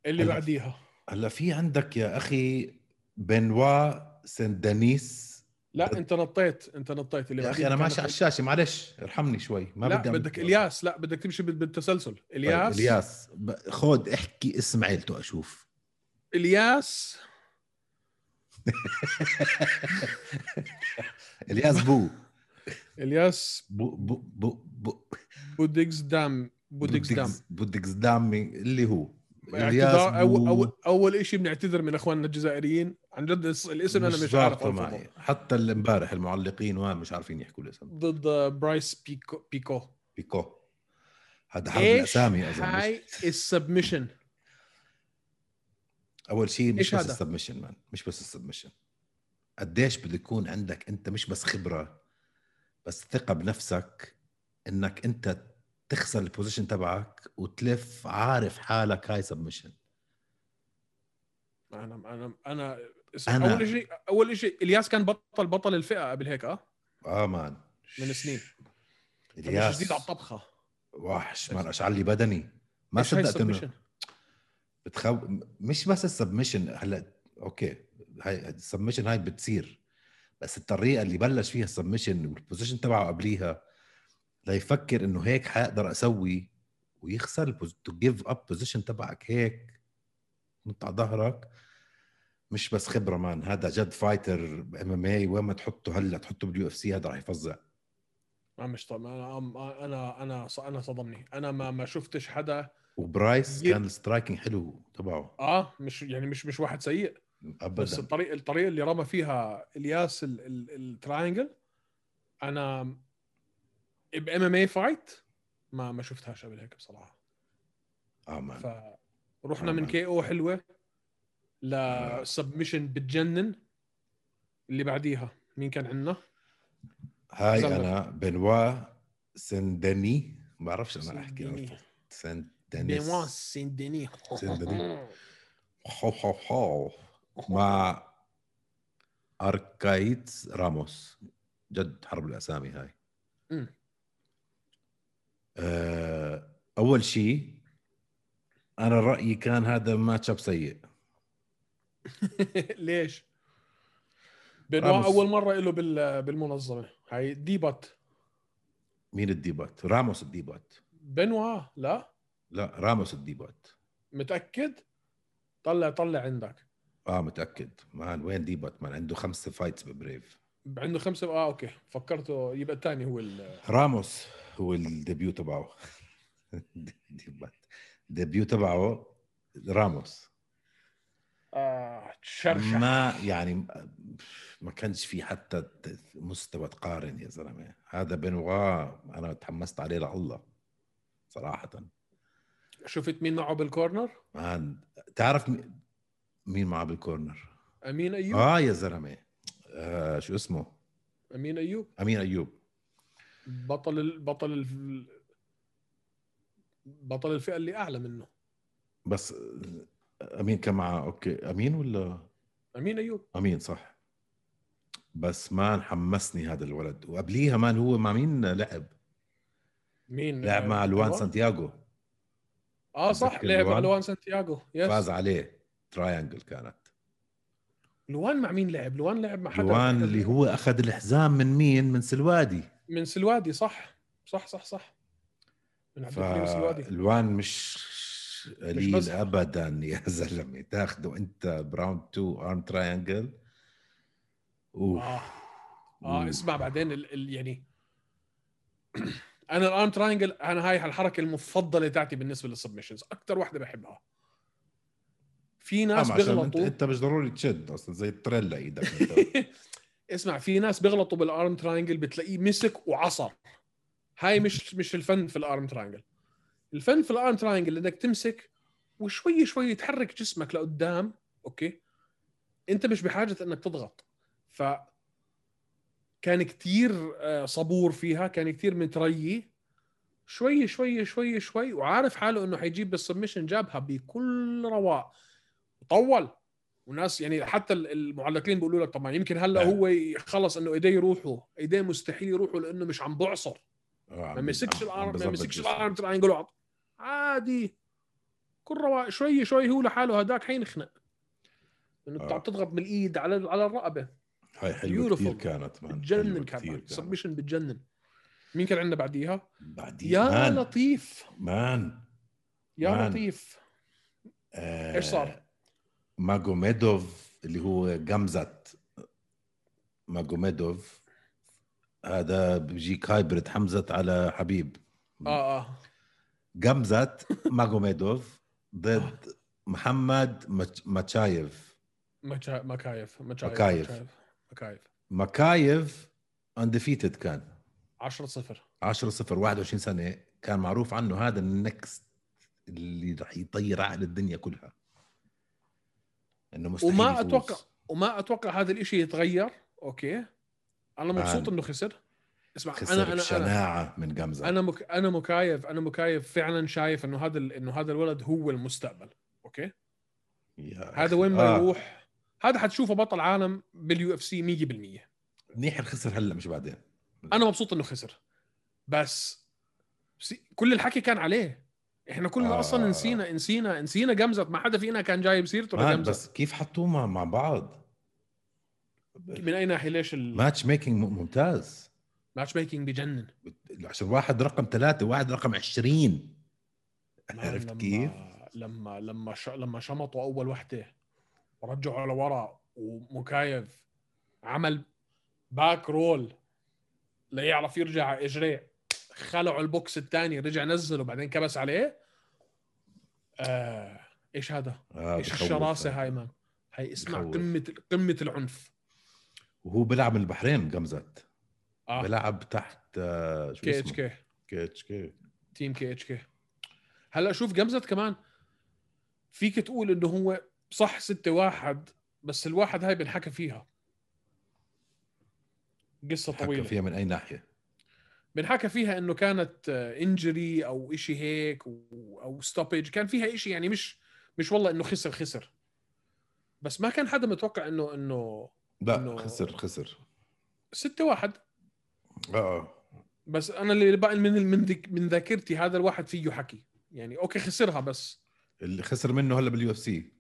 Speaker 1: هلا.
Speaker 2: بعديها
Speaker 1: هلا في عندك يا اخي بنوا سان دانيس
Speaker 2: لا انت نطيت انت نطيت اللي
Speaker 1: يا
Speaker 2: بعديها
Speaker 1: اخي انا
Speaker 2: كانت-
Speaker 1: ماشي على الشاشه معلش ارحمني شوي ما
Speaker 2: لا
Speaker 1: بدي طيب، أعمل-
Speaker 2: بدك الياس لا بدك تمشي بال- بالتسلسل الياس
Speaker 1: الياس ب- خود احكي اسم عيلته اشوف
Speaker 2: الياس
Speaker 1: الياس بو
Speaker 2: الياس
Speaker 1: بو بو بو, بو.
Speaker 2: بوديكس دام بوديكس دام
Speaker 1: بودكس دامي اللي هو
Speaker 2: يعني اعتذار اول
Speaker 1: بو.
Speaker 2: اول اول شيء بنعتذر من اخواننا الجزائريين عن جد الس- الاسم انا
Speaker 1: مش
Speaker 2: مش عارف
Speaker 1: ظابطة
Speaker 2: أنطقه.
Speaker 1: معي حتى اللي امبارح المعلقين وين مش عارفين يحكوا الاسم
Speaker 2: ضد برايس بيكو بيكو
Speaker 1: بيكو هذا حرب
Speaker 2: ايش
Speaker 1: الاسامي اظن مش-
Speaker 2: هاي السبمشن
Speaker 1: اول شيء مش
Speaker 2: إيش
Speaker 1: بس
Speaker 2: هذا؟
Speaker 1: السبمشن مان مش بس السبمشن قديش بده يكون عندك انت مش بس خبره بس ثقه بنفسك انك انت تخسر البوزيشن تبعك وتلف عارف حالك هاي سبمشن
Speaker 2: انا انا انا,
Speaker 1: أنا-
Speaker 2: أنا. اول شيء اول شيء الياس كان بطل بطل الفئه قبل هيك اه
Speaker 1: اه مان
Speaker 2: من سنين
Speaker 1: الياس
Speaker 2: مش جديد على الطبخه
Speaker 1: وحش مان اشعل لي بدني ما
Speaker 2: إيش هاي
Speaker 1: صدقت انه
Speaker 2: السبمشن؟
Speaker 1: بتخو... مش بس السبمشن هلا اوكي هاي السبمشن هاي بتصير بس الطريقه اللي بلش فيها السبمشن والبوزيشن تبعه قبليها ليفكر انه هيك حقدر اسوي ويخسر تو جيف اب بوزيشن تبعك هيك نط على ظهرك مش بس خبره مان هذا جد فايتر ام ام اي وين ما تحطه هلا تحطه باليو اف سي هذا راح يفظع
Speaker 2: ما مش طبعا انا أم- انا انا ص- انا صدمني انا ما ما شفتش حدا
Speaker 1: وبرايس
Speaker 2: ي-
Speaker 1: كان السترايكنج حلو تبعه
Speaker 2: اه مش يعني مش مش واحد سيء بس
Speaker 1: ابدا
Speaker 2: الطريق الطريقه اللي رمى فيها الياس ال- ال- التراينجل انا بام ام اي فايت ما ما شفتهاش قبل هيك بصراحه
Speaker 1: اه مان
Speaker 2: فرحنا من
Speaker 1: آه.
Speaker 2: كي او حلوه لسبمشن بتجنن اللي بعديها مين كان عندنا؟
Speaker 1: هاي
Speaker 2: زلمة.
Speaker 1: انا بنوا سندني ما بعرفش انا احكي
Speaker 2: سندني.
Speaker 1: ألفاظ. سندني
Speaker 2: بنوا سندني
Speaker 1: سندني. خو خو خو مع اركايت راموس جد حرب الاسامي هاي
Speaker 2: أمم.
Speaker 1: آه، اول شيء انا رايي كان هذا ماتش اب سيء
Speaker 2: ليش؟ بنوا
Speaker 1: راموس.
Speaker 2: اول مره له بال- بالمنظمه هاي ديبت
Speaker 1: مين الديبات راموس الديبات
Speaker 2: بنوا آه، لا
Speaker 1: لا راموس الديبات
Speaker 2: متاكد؟ طلع طلع عندك
Speaker 1: اه متاكد مان وين ديبات مان عنده خمسة فايتس ببريف
Speaker 2: عنده خمسه اه اوكي فكرته يبقى الثاني هو ال-
Speaker 1: راموس هو الديبيو تبعه ديبات. الديبيو تبعه راموس
Speaker 2: آه شرشح
Speaker 1: ما يعني ما كانش في حتى مستوى تقارن يا زلمه هذا بنوا انا تحمست عليه لله صراحه
Speaker 2: شفت مين معه بالكورنر؟
Speaker 1: مان تعرف مي- مين معه بالكورنر
Speaker 2: امين ايوب
Speaker 1: اه يا زلمه آه شو اسمه
Speaker 2: امين ايوب
Speaker 1: امين ايوب
Speaker 2: بطل ال... بطل ال... بطل الفئه اللي اعلى منه
Speaker 1: بس آه، امين كان معه اوكي امين ولا
Speaker 2: امين ايوب
Speaker 1: امين صح بس مان حمسني هذا الولد وقبليها مان هو مع مين لعب؟
Speaker 2: مين
Speaker 1: لعب مع الوان
Speaker 2: بنوا؟
Speaker 1: سانتياغو
Speaker 2: اه صح
Speaker 1: بتذكر
Speaker 2: لعب مع
Speaker 1: لوان؟
Speaker 2: لوان سانتياغو يس
Speaker 1: فاز عليه تراينجل كانت
Speaker 2: لوان مع مين لعب؟ لوان لعب مع حدا
Speaker 1: لوان اللي هو اخذ الحزام من مين من سلوادي
Speaker 2: من سلوادي صح صح صح صح من عبد الحليم سلوادي
Speaker 1: فالوان مش قليل
Speaker 2: مزح.
Speaker 1: ابدا يا زلمه تاخده انت براوند 2 ارم تراينجل اوف
Speaker 2: اه اه
Speaker 1: أوف.
Speaker 2: اسمع بعدين ال... ال... يعني انا الارم تراينجل انا هاي الحركه المفضله تاعتي بالنسبه للسبمشنز اكثر واحده بحبها في ناس
Speaker 1: أما عشان انت,
Speaker 2: بيغلطوا
Speaker 1: انت مش ضروري تشد اصلا زي تريلا ايدك أنت.
Speaker 2: اسمع في ناس بيغلطوا بالارم تراينجل بتلاقيه مسك وعصر هاي مش مش الفن في الارم تراينجل الفن في الارم تراينجل انك تمسك وشوي شوي تحرك جسمك لقدام اوكي انت مش بحاجه انك تضغط ف كان كتير آه، صبور فيها كان كتير متري شوي شوي شوي شوي وعارف حاله انه حيجيب بالسبمشن جابها بكل رواق طول وناس يعني حتى المعلقين بيقولوا لك طبعا يمكن هلا
Speaker 1: لا.
Speaker 2: هو خلص انه ايديه يروحوا ايديه مستحيل يروحوا لانه مش عم بعصر
Speaker 1: آه، عم-
Speaker 2: ما مسكش
Speaker 1: عم- عم
Speaker 2: الارم ما
Speaker 1: بظبط
Speaker 2: مسكش
Speaker 1: جسمه.
Speaker 2: الارم تراينجل وعض عادي كل رواق شوي شوي هو لحاله هداك حينخنق انه انت
Speaker 1: آه.
Speaker 2: عم تضغط من الايد على على الرقبه
Speaker 1: هاي حلوه كثير
Speaker 2: Beautiful.
Speaker 1: كانت مان. آه، حلوة
Speaker 2: بتجنن
Speaker 1: كتير
Speaker 2: كمان
Speaker 1: كانت.
Speaker 2: سبمشن بتجنن مين كان عندنا بعديها؟
Speaker 1: بعدين
Speaker 2: يا
Speaker 1: مان
Speaker 2: لطيف
Speaker 1: مان
Speaker 2: يا
Speaker 1: مان.
Speaker 2: لطيف
Speaker 1: آه،
Speaker 2: إيش صار؟
Speaker 1: ماجوميدوف اللي هو جمزت ماجوميدوف هذا بيجيك هايبرد حمزة على حبيب
Speaker 2: اه اه
Speaker 1: جمزت ماجوميدوف ضد محمد مت- ماتشايف
Speaker 2: مكا- مكايف مكايف
Speaker 1: مكايف.
Speaker 2: مكايف مكايف
Speaker 1: مكايف اندفيتد كان
Speaker 2: 10 0
Speaker 1: 10 0 21 سنه كان معروف عنه هذا النكست اللي رح يطير عقل الدنيا كلها انه مستحيل
Speaker 2: وما
Speaker 1: يفوز.
Speaker 2: أتوقع. وما اتوقع هذا الاشي يتغير اوكي انا مبسوط
Speaker 1: مان.
Speaker 2: انه خسر اسمع
Speaker 1: آه. خسر
Speaker 2: انا انا انا
Speaker 1: بشناعه من جمزه
Speaker 2: انا مك... انا مكايف انا مكايف فعلا شايف انه هذا ال... انه هذا الولد هو المستقبل اوكي
Speaker 1: يا
Speaker 2: هذا وين ما
Speaker 1: آه.
Speaker 2: يروح هذا حتشوفه بطل عالم باليو اف سي 100%
Speaker 1: منيح خسر هلا مش بعدين
Speaker 2: انا مبسوط انه خسر بس بس- كل الحكي كان عليه احنا كلنا
Speaker 1: آه.
Speaker 2: آه. اصلا نسينا نسينا نسينا جمزه ما حدا فينا كان جايب سيرته
Speaker 1: مان
Speaker 2: لجمزه
Speaker 1: آه، بس كيف حطوه مع, مع بعض
Speaker 2: من اي ناحيه ليش الماتش
Speaker 1: ماتش ميكينج ممتاز
Speaker 2: ميكينج بجنن
Speaker 1: عشان واحد رقم ثلاثة واحد رقم 20 عرفت
Speaker 2: لما
Speaker 1: كيف؟
Speaker 2: لما لما ش... لما شمطوا اول وحده ورجعوا لورا ومكايف عمل باك رول ليعرف يرجع على اجريه خلعوا البوكس الثاني رجع نزله بعدين كبس عليه آه... ايش هذا؟
Speaker 1: آه
Speaker 2: ايش
Speaker 1: بخوف.
Speaker 2: الشراسه هاي مان هاي اسمع
Speaker 1: بخوف.
Speaker 2: قمه قمه العنف
Speaker 1: وهو بيلعب من البحرين جمزت
Speaker 2: اه
Speaker 1: بيلعب تحت آه، شو
Speaker 2: كي اتش
Speaker 1: اسمه
Speaker 2: كي
Speaker 1: كي اتش كي
Speaker 2: تيم كي اتش كي هلا شوف جمزت كمان فيك تقول انه هو صح 6 واحد بس الواحد هاي بنحكى فيها قصه
Speaker 1: حكى
Speaker 2: طويله
Speaker 1: فيها من اي ناحية
Speaker 2: بنحكى فيها انه كانت انجري او إشي هيك و- او ستوبج كان فيها إشي يعني مش مش والله انه خسر خسر بس ما كان حدا متوقع انه انه
Speaker 1: لا
Speaker 2: إنه-
Speaker 1: خسر خسر
Speaker 2: 6 واحد
Speaker 1: اه
Speaker 2: بس انا اللي بقى من من ذك- من ذاكرتي هذا الواحد فيه حكي يعني اوكي خسرها بس
Speaker 1: اللي خسر منه هلا باليو اف سي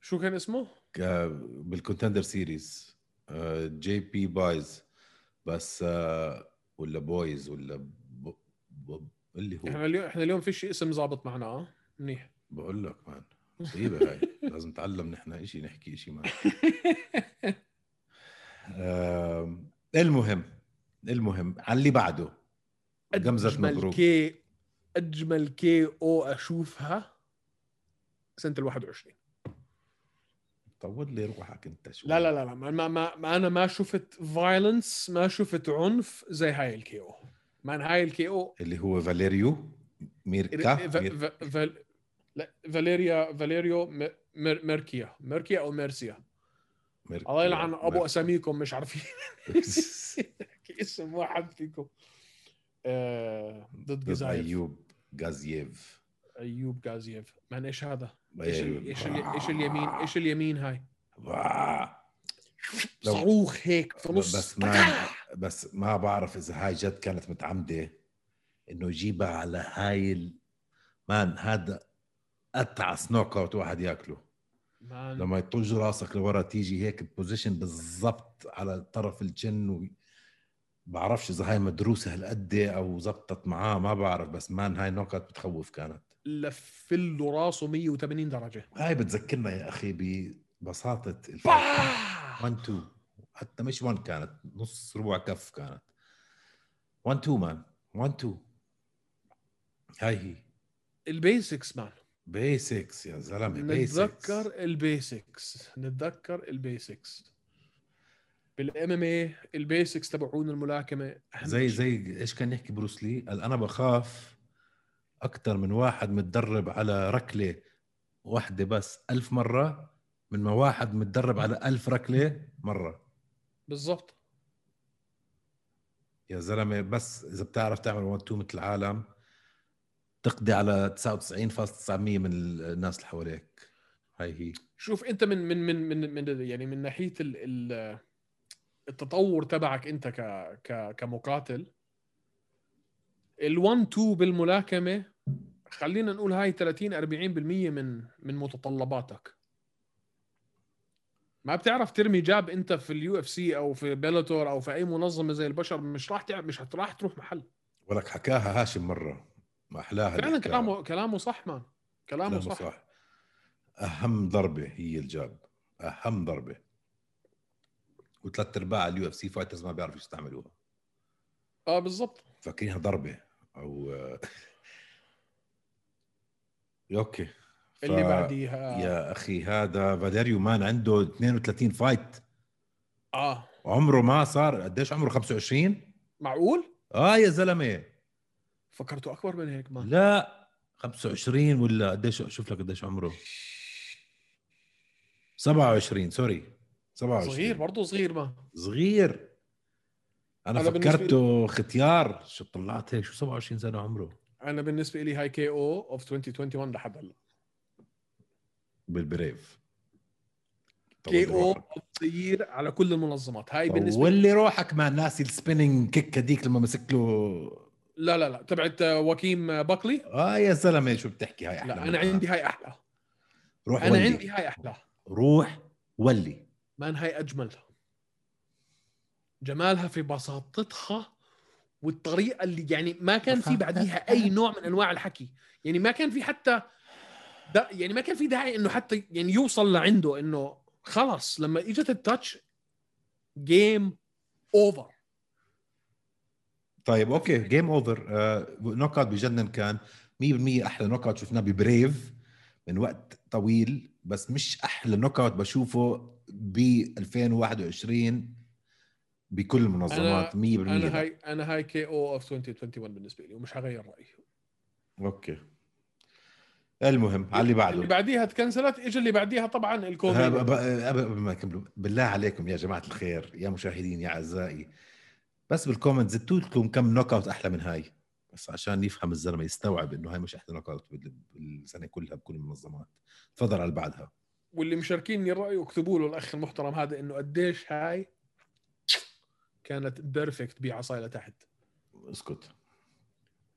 Speaker 2: شو كان اسمه؟
Speaker 1: آه، بالكونتندر سيريز آه، جي بي بايز بس آه، ولا بويز ولا ب... ب... اللي هو
Speaker 2: احنا اليوم احنا اليوم فيش اسم ظابط معنا اه منيح
Speaker 1: بقول لك مان مصيبه هاي لازم نتعلم نحن شيء نحكي شيء مان آم، المهم المهم على اللي بعده جمزة مبروك
Speaker 2: كي اجمل كي او اشوفها سنه ال 21
Speaker 1: طول لي روحك انت شوي
Speaker 2: لا لا لا لا ما, ما, ما انا ما شفت فايلنس ما شفت عنف زي هاي الكي او مان هاي الكي او
Speaker 1: اللي هو فاليريو ميركا
Speaker 2: إيه، ف-
Speaker 1: مير...
Speaker 2: ف- فال- لا، فاليريا فاليريو م- مير- ميركيا ميركيا او ميرسيا
Speaker 1: مير...
Speaker 2: الله يلعن ابو
Speaker 1: مير-
Speaker 2: اساميكم مش عارفين اسم واحد فيكم آه، ضد
Speaker 1: ضد
Speaker 2: جزاير
Speaker 1: ايوب غازييف
Speaker 2: ايوب جازييف مان ايش هذا؟ ايش
Speaker 1: أيوب.
Speaker 2: ال- ايش ال- ايش اليمين ايش اليمين هاي؟
Speaker 1: آه. لو-
Speaker 2: صاروخ هيك في نص
Speaker 1: بس ما بس ما بعرف اذا هاي جد كانت متعمده انه يجيبها على هاي مان هذا اتعس نوك اوت واحد ياكله
Speaker 2: مان
Speaker 1: لما يطج راسك لورا تيجي هيك بوزيشن بالضبط على طرف الجن و... بعرفش اذا هاي مدروسه هالقد او زبطت معاه ما بعرف بس مان هاي نوك اوت بتخوف كانت
Speaker 2: لف له راسه 180 درجه
Speaker 1: هاي بتذكرنا يا اخي ببساطه الفايت
Speaker 2: باح!
Speaker 1: 1 2 حتى مش 1 كانت نص ربع كف كانت 1 2 مان 1 2 هاي هي
Speaker 2: البيسكس مان
Speaker 1: بيسكس يا زلمه بيسكس
Speaker 2: نتذكر البيسكس نتذكر البيسكس بالام ام اي البيسكس تبعون الملاكمه أهم
Speaker 1: زي
Speaker 2: شيء.
Speaker 1: زي ايش كان يحكي بروس لي؟ قال انا بخاف اكثر من واحد متدرب على ركله واحده بس ألف مره من ما واحد متدرب على ألف ركله مره
Speaker 2: بالضبط
Speaker 1: يا زلمه بس اذا بتعرف تعمل 1 2 مثل العالم تقضي على 99.9% من الناس اللي حواليك هاي هي
Speaker 2: شوف انت من من من من, من يعني من ناحيه ال ال التطور تبعك انت ك ك كمقاتل ال1 2 بالملاكمه خلينا نقول هاي 30 40% من من متطلباتك ما بتعرف ترمي جاب انت في اليو اف سي او في بيلاتور او في اي منظمه زي البشر مش راح تعمل مش راح تروح محل
Speaker 1: ولك حكاها هاشم مره ما احلاها
Speaker 2: فعلا
Speaker 1: الحكاية.
Speaker 2: كلامه كلامه صح مان كلامه صح, صح.
Speaker 1: اهم ضربه هي الجاب اهم ضربه وثلاث ارباع اليو اف سي فايترز ما بيعرفوا يستعملوها
Speaker 2: اه بالضبط
Speaker 1: فاكرينها آه. ضربه او اوكي ف-
Speaker 2: اللي بعديها
Speaker 1: يا اخي هذا فاليريو مان عنده 32 فايت
Speaker 2: اه
Speaker 1: عمره ما صار قديش عمره 25
Speaker 2: معقول
Speaker 1: اه يا زلمه
Speaker 2: فكرته اكبر من هيك مان
Speaker 1: لا 25 ولا قديش شوف لك قديش عمره 27 سوري 27
Speaker 2: صغير برضه صغير ما
Speaker 1: صغير انا,
Speaker 2: أنا بالنسبة
Speaker 1: فكرته ختيار شو طلعت هيك شو 27 سنه عمره
Speaker 2: انا بالنسبه لي هاي كي او اوف 2021 لحد هلا
Speaker 1: بالبريف
Speaker 2: كي او صغير على كل المنظمات هاي بالنسبه
Speaker 1: واللي روحك مع ناسي السبيننج كيك هذيك لما مسك له
Speaker 2: لا لا لا تبعت واكيم باكلي
Speaker 1: اه يا زلمه شو بتحكي هاي احلى
Speaker 2: لا انا
Speaker 1: منها.
Speaker 2: عندي هاي احلى
Speaker 1: روح
Speaker 2: انا
Speaker 1: ولي.
Speaker 2: عندي هاي احلى
Speaker 1: روح ولي
Speaker 2: مان هاي اجملها جمالها في بساطتها والطريقه اللي يعني ما كان في بعديها اي نوع من انواع الحكي يعني ما كان في حتى دا يعني ما كان في داعي انه حتى يعني يوصل لعنده انه خلص لما اجت التاتش جيم اوفر
Speaker 1: طيب اوكي جيم اوفر آه، نوك اوت بجنن كان 100% احلى نوك اوت شفناه ببريف من وقت طويل بس مش احلى نوك اوت بشوفه ب 2021 بكل المنظمات 100%
Speaker 2: انا
Speaker 1: لا.
Speaker 2: هاي انا هاي كي او اوف 2021 بالنسبه لي ومش هغير رايي
Speaker 1: اوكي المهم على اللي
Speaker 2: اللي
Speaker 1: بعده
Speaker 2: بعديها تكنسلت اجى اللي بعديها طبعا
Speaker 1: ها، ب-
Speaker 2: الكوفيد
Speaker 1: ب- قبل قبل ما اكملوا بالله عليكم يا جماعه الخير يا مشاهدين يا اعزائي بس بالكومنت زدتوا لكم كم نوك اوت احلى من هاي بس عشان يفهم الزلمه يستوعب انه هاي مش احلى نوك اوت بال- بالسنه كلها بكل المنظمات تفضل على اللي بعدها
Speaker 2: واللي مشاركيني الراي اكتبوا له الاخ المحترم هذا انه قديش هاي كانت بيرفكت بعصاي لتحت
Speaker 1: اسكت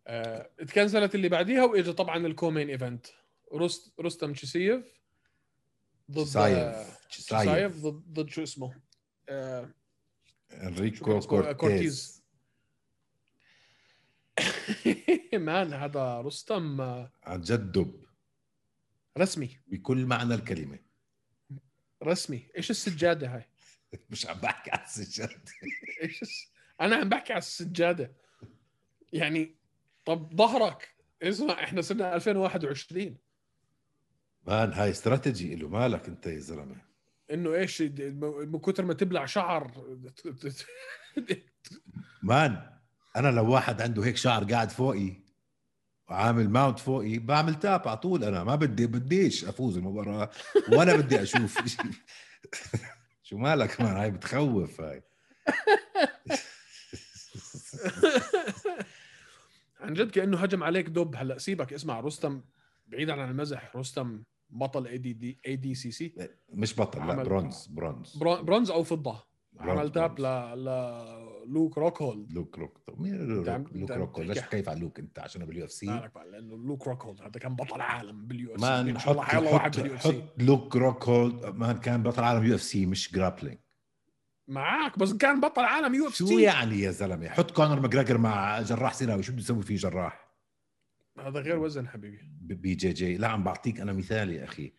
Speaker 2: آه، اتكنسلت اللي بعديها واجى طبعا الكومين ايفنت رست رستم تشيسيف ضد
Speaker 1: تشيسايف
Speaker 2: تشيسايف
Speaker 1: تشيسايف
Speaker 2: ضد ضد شو اسمه آه،
Speaker 1: انريكو
Speaker 2: شو كان اسمه؟ آه،
Speaker 1: كورتيز
Speaker 2: كورتيز. مان هذا رستم آه،
Speaker 1: عن جد دب
Speaker 2: رسمي
Speaker 1: بكل معنى الكلمه
Speaker 2: رسمي ايش السجاده هاي
Speaker 1: مش عم بحكي عن السجاد
Speaker 2: ايش الس- انا عم بحكي على السجاده يعني طب ظهرك اسمع احنا صرنا 2021
Speaker 1: مان هاي استراتيجي له مالك انت يا زلمه
Speaker 2: انه ايش د- م- من كثر ما تبلع شعر ت- ت-
Speaker 1: مان انا لو واحد عنده هيك شعر قاعد فوقي وعامل ماونت فوقي بعمل تاب على طول انا ما بدي بديش افوز المباراه ولا بدي اشوف شيء شو مالك مان هاي بتخوف هاي
Speaker 2: عن جد كانه هجم عليك دب هلا سيبك اسمع رستم بعيدا عن المزح رستم بطل اي دي دي اي دي سي سي
Speaker 1: مش بطل لا
Speaker 2: عمل-
Speaker 1: برونز برونز
Speaker 2: برونز او فضه
Speaker 1: برونز،
Speaker 2: عمل تاب
Speaker 1: برونز.
Speaker 2: ل ل لوك روكهولد
Speaker 1: لوك روك طب مين لوك,
Speaker 2: عم-
Speaker 1: لوك,
Speaker 2: أنت عم
Speaker 1: روك ليش
Speaker 2: تحكي.
Speaker 1: خايف على لوك انت عشان باليو اف سي
Speaker 2: مالك بقى لانه لوك روكهولد هذا كان بطل عالم باليو اف
Speaker 1: ما
Speaker 2: ان شاء
Speaker 1: نحط
Speaker 2: الله حيلا يعني واحد باليو اف سي
Speaker 1: حط لوك روك هولد ما كان بطل عالم يو اف سي مش جرابلينج
Speaker 2: معك بس كان بطل عالم يو اف
Speaker 1: شو
Speaker 2: سي
Speaker 1: يعني يا زلمه حط كونر ماجريجر مع جراح سيناوي شو بده يسوي فيه جراح
Speaker 2: هذا غير وزن حبيبي
Speaker 1: ب- بي جي جي لا عم بعطيك انا مثال يا اخي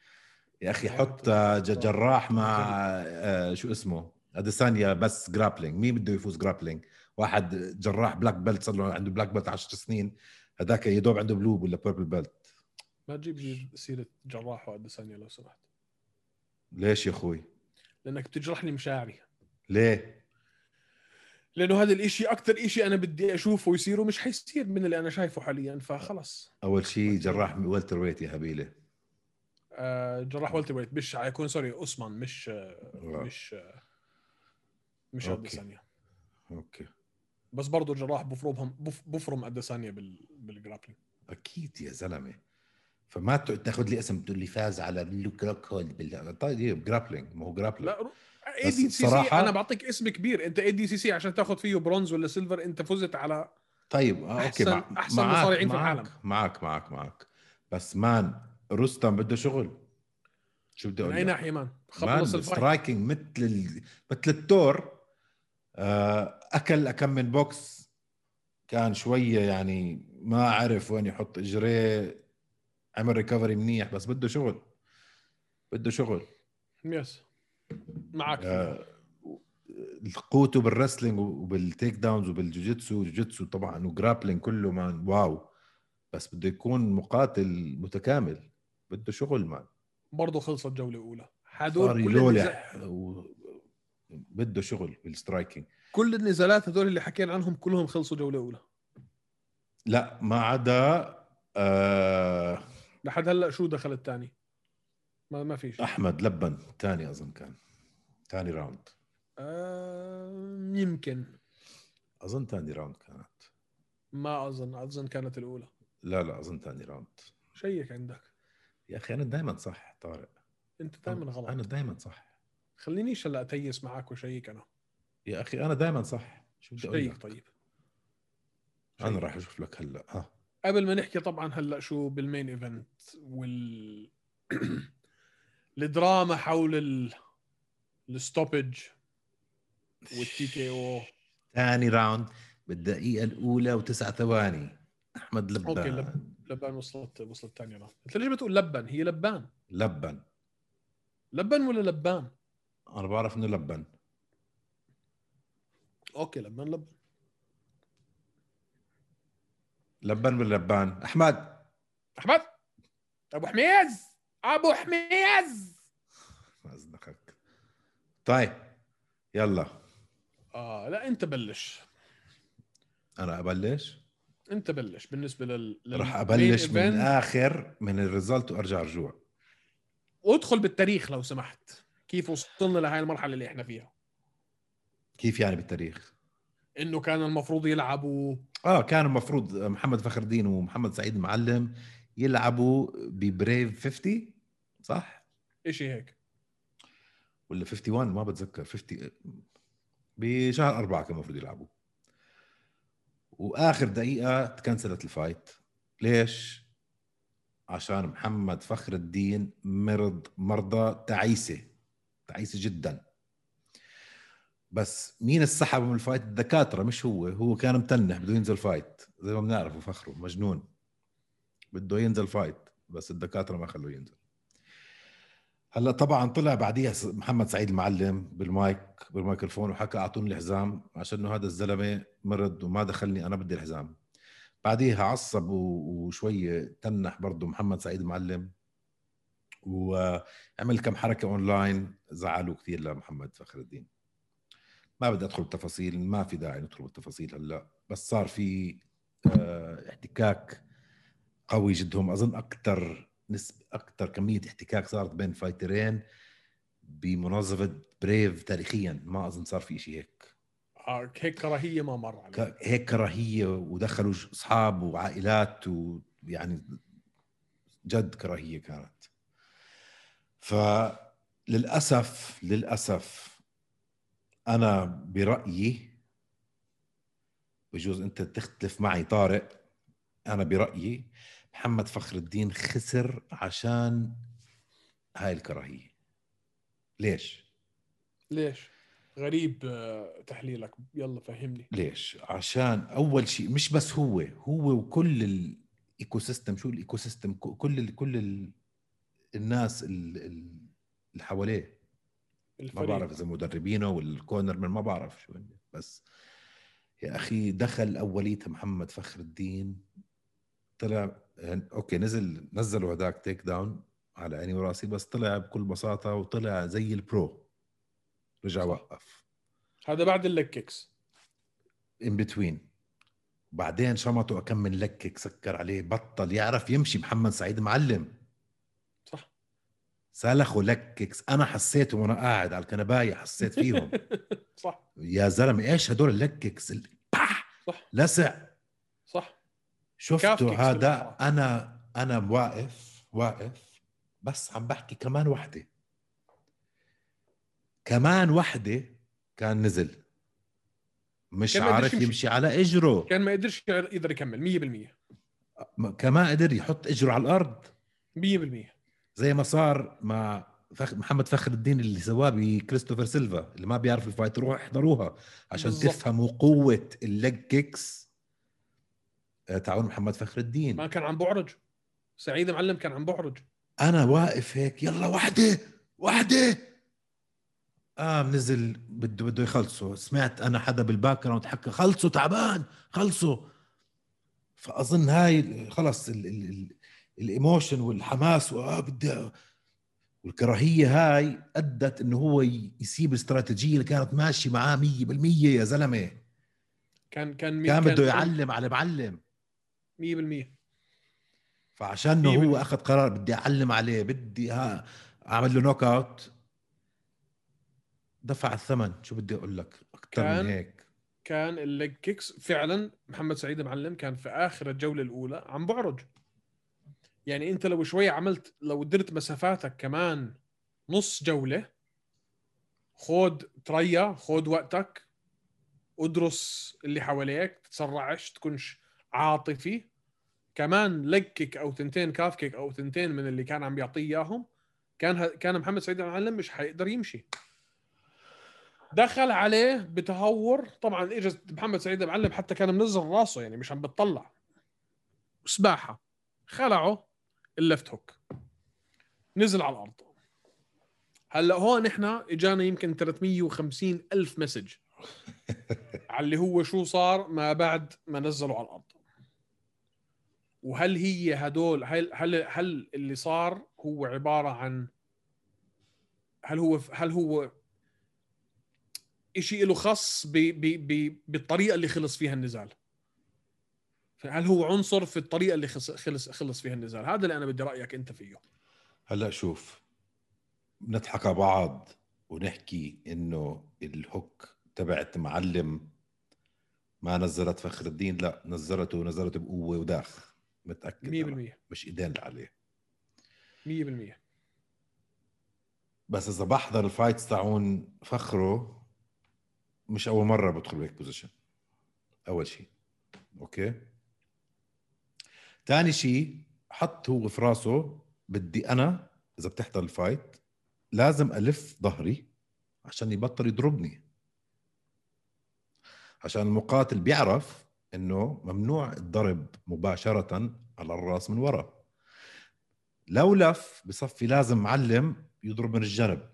Speaker 1: يا اخي حط آه، ج- جراح مع آه، شو اسمه اديسانيا بس جرابلينج مين بده يفوز جرابلينج واحد جراح بلاك بيلت صار له عنده بلاك بيلت 10 سنين هذاك يا دوب عنده بلو ولا بيربل بيلت
Speaker 2: ما تجيب ج- سيره جراح واديسانيا لو سمحت
Speaker 1: ليش يا اخوي
Speaker 2: لانك بتجرح لي مشاعري
Speaker 1: ليه
Speaker 2: لانه هذا الاشي اكثر اشي انا بدي اشوفه يصير ومش حيصير من اللي انا شايفه حاليا فخلص
Speaker 1: اول شيء جراح والتر ويت يا هبيله
Speaker 2: آه جراح والتر ويت مش حيكون سوري اوسمان مش آه،
Speaker 1: آه،
Speaker 2: مش آه، مش
Speaker 1: أوكي.
Speaker 2: اديسانيا
Speaker 1: اوكي
Speaker 2: بس برضه الجراح بفرمهم بف- بفرم اديسانيا بال بالجرابلينج
Speaker 1: اكيد يا زلمه فما ت- تاخذ لي اسم تقول لي فاز على لوك روك هولد بال- طيب جرابلينج ما هو جرابلينج
Speaker 2: لا اي
Speaker 1: بس
Speaker 2: دي سي سي
Speaker 1: بصراحة-
Speaker 2: انا بعطيك اسم كبير انت اي دي سي سي عشان تاخذ فيه برونز ولا سيلفر انت فزت على
Speaker 1: طيب آه اوكي
Speaker 2: أحسن-
Speaker 1: مع-
Speaker 2: أحسن
Speaker 1: معاك-
Speaker 2: مصارعين في
Speaker 1: معاك-
Speaker 2: العالم.
Speaker 1: معك معك معك بس مان رستم بده شغل شو بدي
Speaker 2: من
Speaker 1: اقول
Speaker 2: اي
Speaker 1: لك؟
Speaker 2: ناحيه مان
Speaker 1: مان
Speaker 2: نعم، خلص الفايت
Speaker 1: سترايكنج مثل ال... مثل التور آه اكل كم من بوكس كان شويه يعني ما عرف وين يحط اجريه عمل ريكفري منيح بس بده شغل بده شغل
Speaker 2: يس معك
Speaker 1: آه، قوته بالرسلينج وبالتيك داونز وبالجوجيتسو جوجيتسو طبعا وجرابلينج كله مان واو بس بده يكون مقاتل متكامل بده شغل مان
Speaker 2: برضه خلصت جوله اولى
Speaker 1: صار
Speaker 2: هدول كل النزا-
Speaker 1: يلولح و... بده شغل بالسترايكينج
Speaker 2: كل النزالات هدول اللي حكينا عنهم كلهم خلصوا جوله اولى
Speaker 1: لا ما عدا آه،
Speaker 2: لحد هلا شو دخل الثاني ما ما فيش
Speaker 1: احمد لبن ثاني اظن كان ثاني راوند
Speaker 2: آه يمكن
Speaker 1: اظن ثاني راوند كانت
Speaker 2: ما اظن اظن كانت الاولى
Speaker 1: لا لا اظن ثاني راوند
Speaker 2: شيك عندك
Speaker 1: يا اخي انا دائما صح طارق
Speaker 2: انت دائما غلط
Speaker 1: انا دائما صح
Speaker 2: خلينيش هلا اتيس معك وشيك انا
Speaker 1: يا اخي انا دائما صح شو بدي اقول
Speaker 2: شيك
Speaker 1: لك
Speaker 2: طيب
Speaker 1: انا
Speaker 2: شيك.
Speaker 1: راح اشوف لك آه. هلا ها
Speaker 2: قبل ما نحكي طبعا هلا شو بالمين ايفنت وال الدراما حول ال... الستوبج والتي كي او
Speaker 1: ثاني راوند بالدقيقه الاولى وتسع ثواني احمد لبن
Speaker 2: أوكي، لبن. لبان وصلت وصلت ثانية راوند انت ليش بتقول لبن هي لبان
Speaker 1: لبن
Speaker 2: لبن ولا لبان
Speaker 1: انا بعرف انه لبن
Speaker 2: اوكي لبان لبن
Speaker 1: لبن ولا لبان احمد
Speaker 2: احمد ابو حميز ابو حميز
Speaker 1: ما ازنقك طيب يلا
Speaker 2: اه لا انت بلش
Speaker 1: انا ابلش
Speaker 2: انت بلش بالنسبه لل لل-
Speaker 1: راح ابلش
Speaker 2: main
Speaker 1: من
Speaker 2: event.
Speaker 1: اخر من الريزلت وارجع رجوع
Speaker 2: وادخل بالتاريخ لو سمحت كيف وصلنا لهي المرحله اللي احنا فيها
Speaker 1: كيف يعني بالتاريخ
Speaker 2: انه كان المفروض يلعبوا
Speaker 1: اه كان المفروض محمد فخر الدين ومحمد سعيد المعلم يلعبوا ببريف 50 صح
Speaker 2: شيء هيك
Speaker 1: ولا 51 ما بتذكر 50 بشهر أربعة كان المفروض يلعبوا وآخر دقيقة تكنسلت الفايت ليش؟ عشان محمد فخر الدين مرض مرضى تعيسة تعيسة جدا بس مين السحب من الفايت الدكاترة مش هو هو كان متنح بده ينزل فايت زي ما بنعرفه فخره مجنون بده ينزل فايت بس الدكاترة ما خلوه ينزل هلا طبعا طلع بعديها س- محمد سعيد المعلم بالمايك بالميكروفون وحكى اعطوني الحزام عشان إنه هذا الزلمه مرض وما دخلني انا بدي الحزام بعديها عصب و- وشويه تنح برضه محمد سعيد المعلم وعمل كم حركه اونلاين زعلوا كثير لمحمد فخر الدين ما بدي ادخل بتفاصيل ما في داعي ندخل بالتفاصيل هلا بس صار في آه، احتكاك قوي جدهم اظن اكثر نسبة أكثر كمية احتكاك صارت بين فايترين بمنظمة بريف تاريخيا ما أظن صار في شيء هيك
Speaker 2: آه، هيك كراهيه ما مر عليه
Speaker 1: ك- هيك كراهية ودخلوا ج- أصحاب وعائلات ويعني جد كراهية كانت فللأسف للأسف أنا برأيي بجوز انت تختلف معي طارق انا برايي محمد فخر الدين خسر عشان هاي الكراهيه ليش
Speaker 2: ليش؟ غريب آه، تحليلك يلا فهمني
Speaker 1: ليش عشان اول شيء مش بس هو هو وكل الايكو سيستم شو الايكو سيستم كل ال كل ال الناس ال- ال- اللي حواليه ما
Speaker 2: الفريق
Speaker 1: بعرف اذا مدربينه والكونر من ما بعرف شو هن بس يا اخي دخل اوليتها محمد فخر الدين طلع هن- اوكي نزل نزلوا هداك تيك داون على عيني وراسي بس طلع بكل بساطه وطلع زي البرو رجع وقف
Speaker 2: هذا بعد اللك كيكس
Speaker 1: ان بتوين بعدين شمطوا كم من لكك سكر عليه بطل يعرف يمشي محمد سعيد معلم
Speaker 2: صح
Speaker 1: سلخوا لككس انا حسيته وانا قاعد على الكنبايه حسيت فيهم
Speaker 2: صح
Speaker 1: يا زلمه ايش هدول اللككس اللي بح!
Speaker 2: صح.
Speaker 1: لسع
Speaker 2: صح كاف كيكس
Speaker 1: شفته هذا
Speaker 2: بالمرة.
Speaker 1: انا انا واقف واقف بس عم بحكي كمان وحده كمان وحده كان نزل مش
Speaker 2: كان ما قدرش
Speaker 1: عارف
Speaker 2: يمشي.
Speaker 1: يمشي على اجره
Speaker 2: كان ما قدرش يقدر يقدر يكمل 100%
Speaker 1: ما- كمان قدر يحط اجره على الارض
Speaker 2: 100%
Speaker 1: زي ما صار مع فخ... محمد فخر الدين اللي سواه بكريستوفر سيلفا اللي ما بيعرف الفايت روحوا احضروها عشان
Speaker 2: بالضبط.
Speaker 1: بالزبط. تفهموا قوه الليج كيكس آه، تعاون محمد فخر الدين
Speaker 2: ما كان عم بعرج سعيد معلم كان عم بعرج
Speaker 1: انا واقف هيك يلا وحده وحده قام نزل بده آه، بده يخلصوا سمعت انا حدا بالباك جراوند حكى خلصوا تعبان خلصوا فاظن هاي خلص ال- ال- ال- الايموشن والحماس واه بدي والكراهيه هاي ادت انه هو ي- يسيب الاستراتيجيه اللي كانت ماشيه معاه 100% يا زلمه
Speaker 2: كان كان مين
Speaker 1: كان بده يعلم على معلم
Speaker 2: 100%
Speaker 1: فعشان
Speaker 2: في
Speaker 1: هو
Speaker 2: بال-
Speaker 1: اخذ قرار بدي اعلم عليه بدي ها اعمل له نوك اوت دفع الثمن شو بدي اقول لك اكثر
Speaker 2: كان-
Speaker 1: من هيك
Speaker 2: كان الليج كيكس فعلا محمد سعيد معلم كان في اخر الجوله الاولى عم بعرج يعني انت لو شوي عملت لو درت مسافاتك كمان نص جوله خود تريا خود وقتك ادرس اللي حواليك تتسرعش تكونش عاطفي كمان ليج كيك او تنتين كاف كيك او تنتين من اللي كان عم بيعطيه اياهم كان ه... كان محمد سعيد المعلم مش حيقدر يمشي دخل عليه بتهور طبعا اجى محمد سعيد المعلم حتى كان منزل راسه يعني مش عم بتطلع سباحه خلعه اللفت هوك نزل على الارض هلا هون احنا اجانا يمكن 350 الف مسج على اللي هو شو صار ما بعد ما نزلوا على الارض وهل هي هدول هل هل هل اللي صار هو عباره عن هل هو هل هو شيء له خاص ب ب ب بالطريقه اللي خلص فيها النزال هل هو عنصر في الطريقه اللي خلص خلص, خلص فيها النزال هذا اللي انا بدي رايك انت فيه
Speaker 1: هلا شوف نضحك على بعض ونحكي انه الهوك تبعت معلم ما نزلت فخر الدين لا نزلته ونزلته بقوه وداخ متاكد أنا.
Speaker 2: 100%
Speaker 1: مش ايدين عليه
Speaker 2: 100%
Speaker 1: بس اذا بحضر الفايتس تاعون فخره مش اول مره بدخل بهيك بوزيشن اول شيء اوكي ثاني شيء حط هو في راسه بدي انا اذا بتحضر الفايت لازم الف ظهري عشان يبطل يضربني عشان المقاتل بيعرف انه ممنوع الضرب مباشره على الراس من ورا لو لف بصفي لازم معلم يضرب من الجنب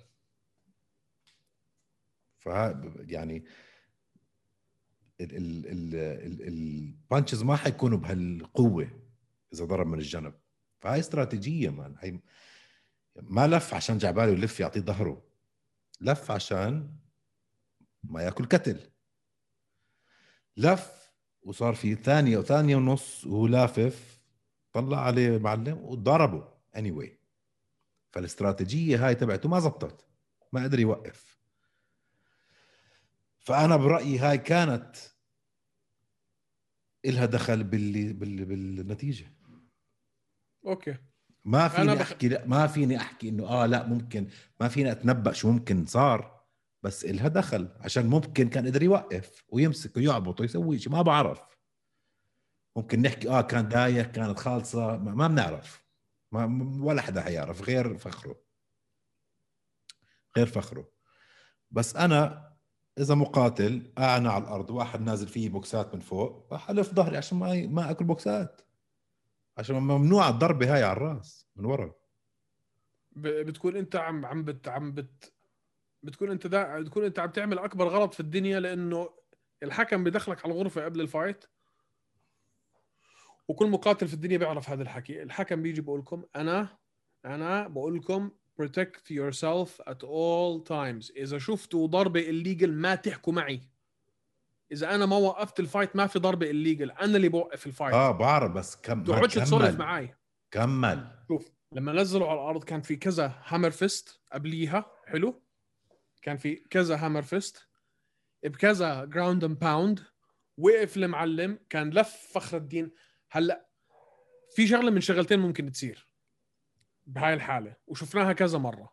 Speaker 1: فه يعني البانشز ما حيكونوا بهالقوه اذا ضرب من الجنب فهاي استراتيجيه مان هي ما لف عشان جعباله يلف يعطيه ظهره لف عشان ما ياكل كتل لف وصار في ثانيه وثانيه ونص وهو لافف طلع عليه المعلم وضربه اني anyway. فالاستراتيجيه هاي تبعته ما زبطت ما قدر يوقف فانا برايي هاي كانت الها دخل باللي, باللي بالنتيجه
Speaker 2: اوكي
Speaker 1: ما
Speaker 2: أنا
Speaker 1: فيني آه،
Speaker 2: بخ-
Speaker 1: احكي لا ما فيني احكي انه اه لا ممكن ما فيني اتنبا شو ممكن صار بس إلها دخل عشان ممكن كان قدر يوقف ويمسك ويعبط ويسوي شيء ما بعرف ممكن نحكي اه كان دايخ كانت خالصه ما, ما بنعرف ما م- ولا حدا حيعرف غير فخره غير فخره بس انا اذا مقاتل اعنا على الارض واحد نازل فيه بوكسات من فوق احلف ظهري عشان ما ما اكل بوكسات عشان ممنوع الضربه هاي على الراس من ورا
Speaker 2: ب- بتكون انت عم عم بت عم بت بتكون انت دا بتكون انت عم تعمل اكبر غلط في الدنيا لانه الحكم بدخلك على الغرفه قبل الفايت وكل مقاتل في الدنيا بيعرف هذا الحكي الحكم بيجي بقول لكم انا انا بقول لكم protect yourself at all times اذا شفتوا ضربه الليجل ما تحكوا معي اذا انا ما وقفت الفايت ما في ضربه الليجل انا اللي بوقف الفايت
Speaker 1: اه بعرف بس كم ما
Speaker 2: تقعدش تتصرف
Speaker 1: كمل
Speaker 2: معي
Speaker 1: كمل
Speaker 2: شوف لما نزلوا على الارض كان في كذا هامر فيست قبليها حلو كان في كذا هامر فيست بكذا جراوند اند باوند وقف المعلم كان لف فخر الدين هلا في شغله من شغلتين ممكن تصير بهاي الحاله وشفناها كذا مره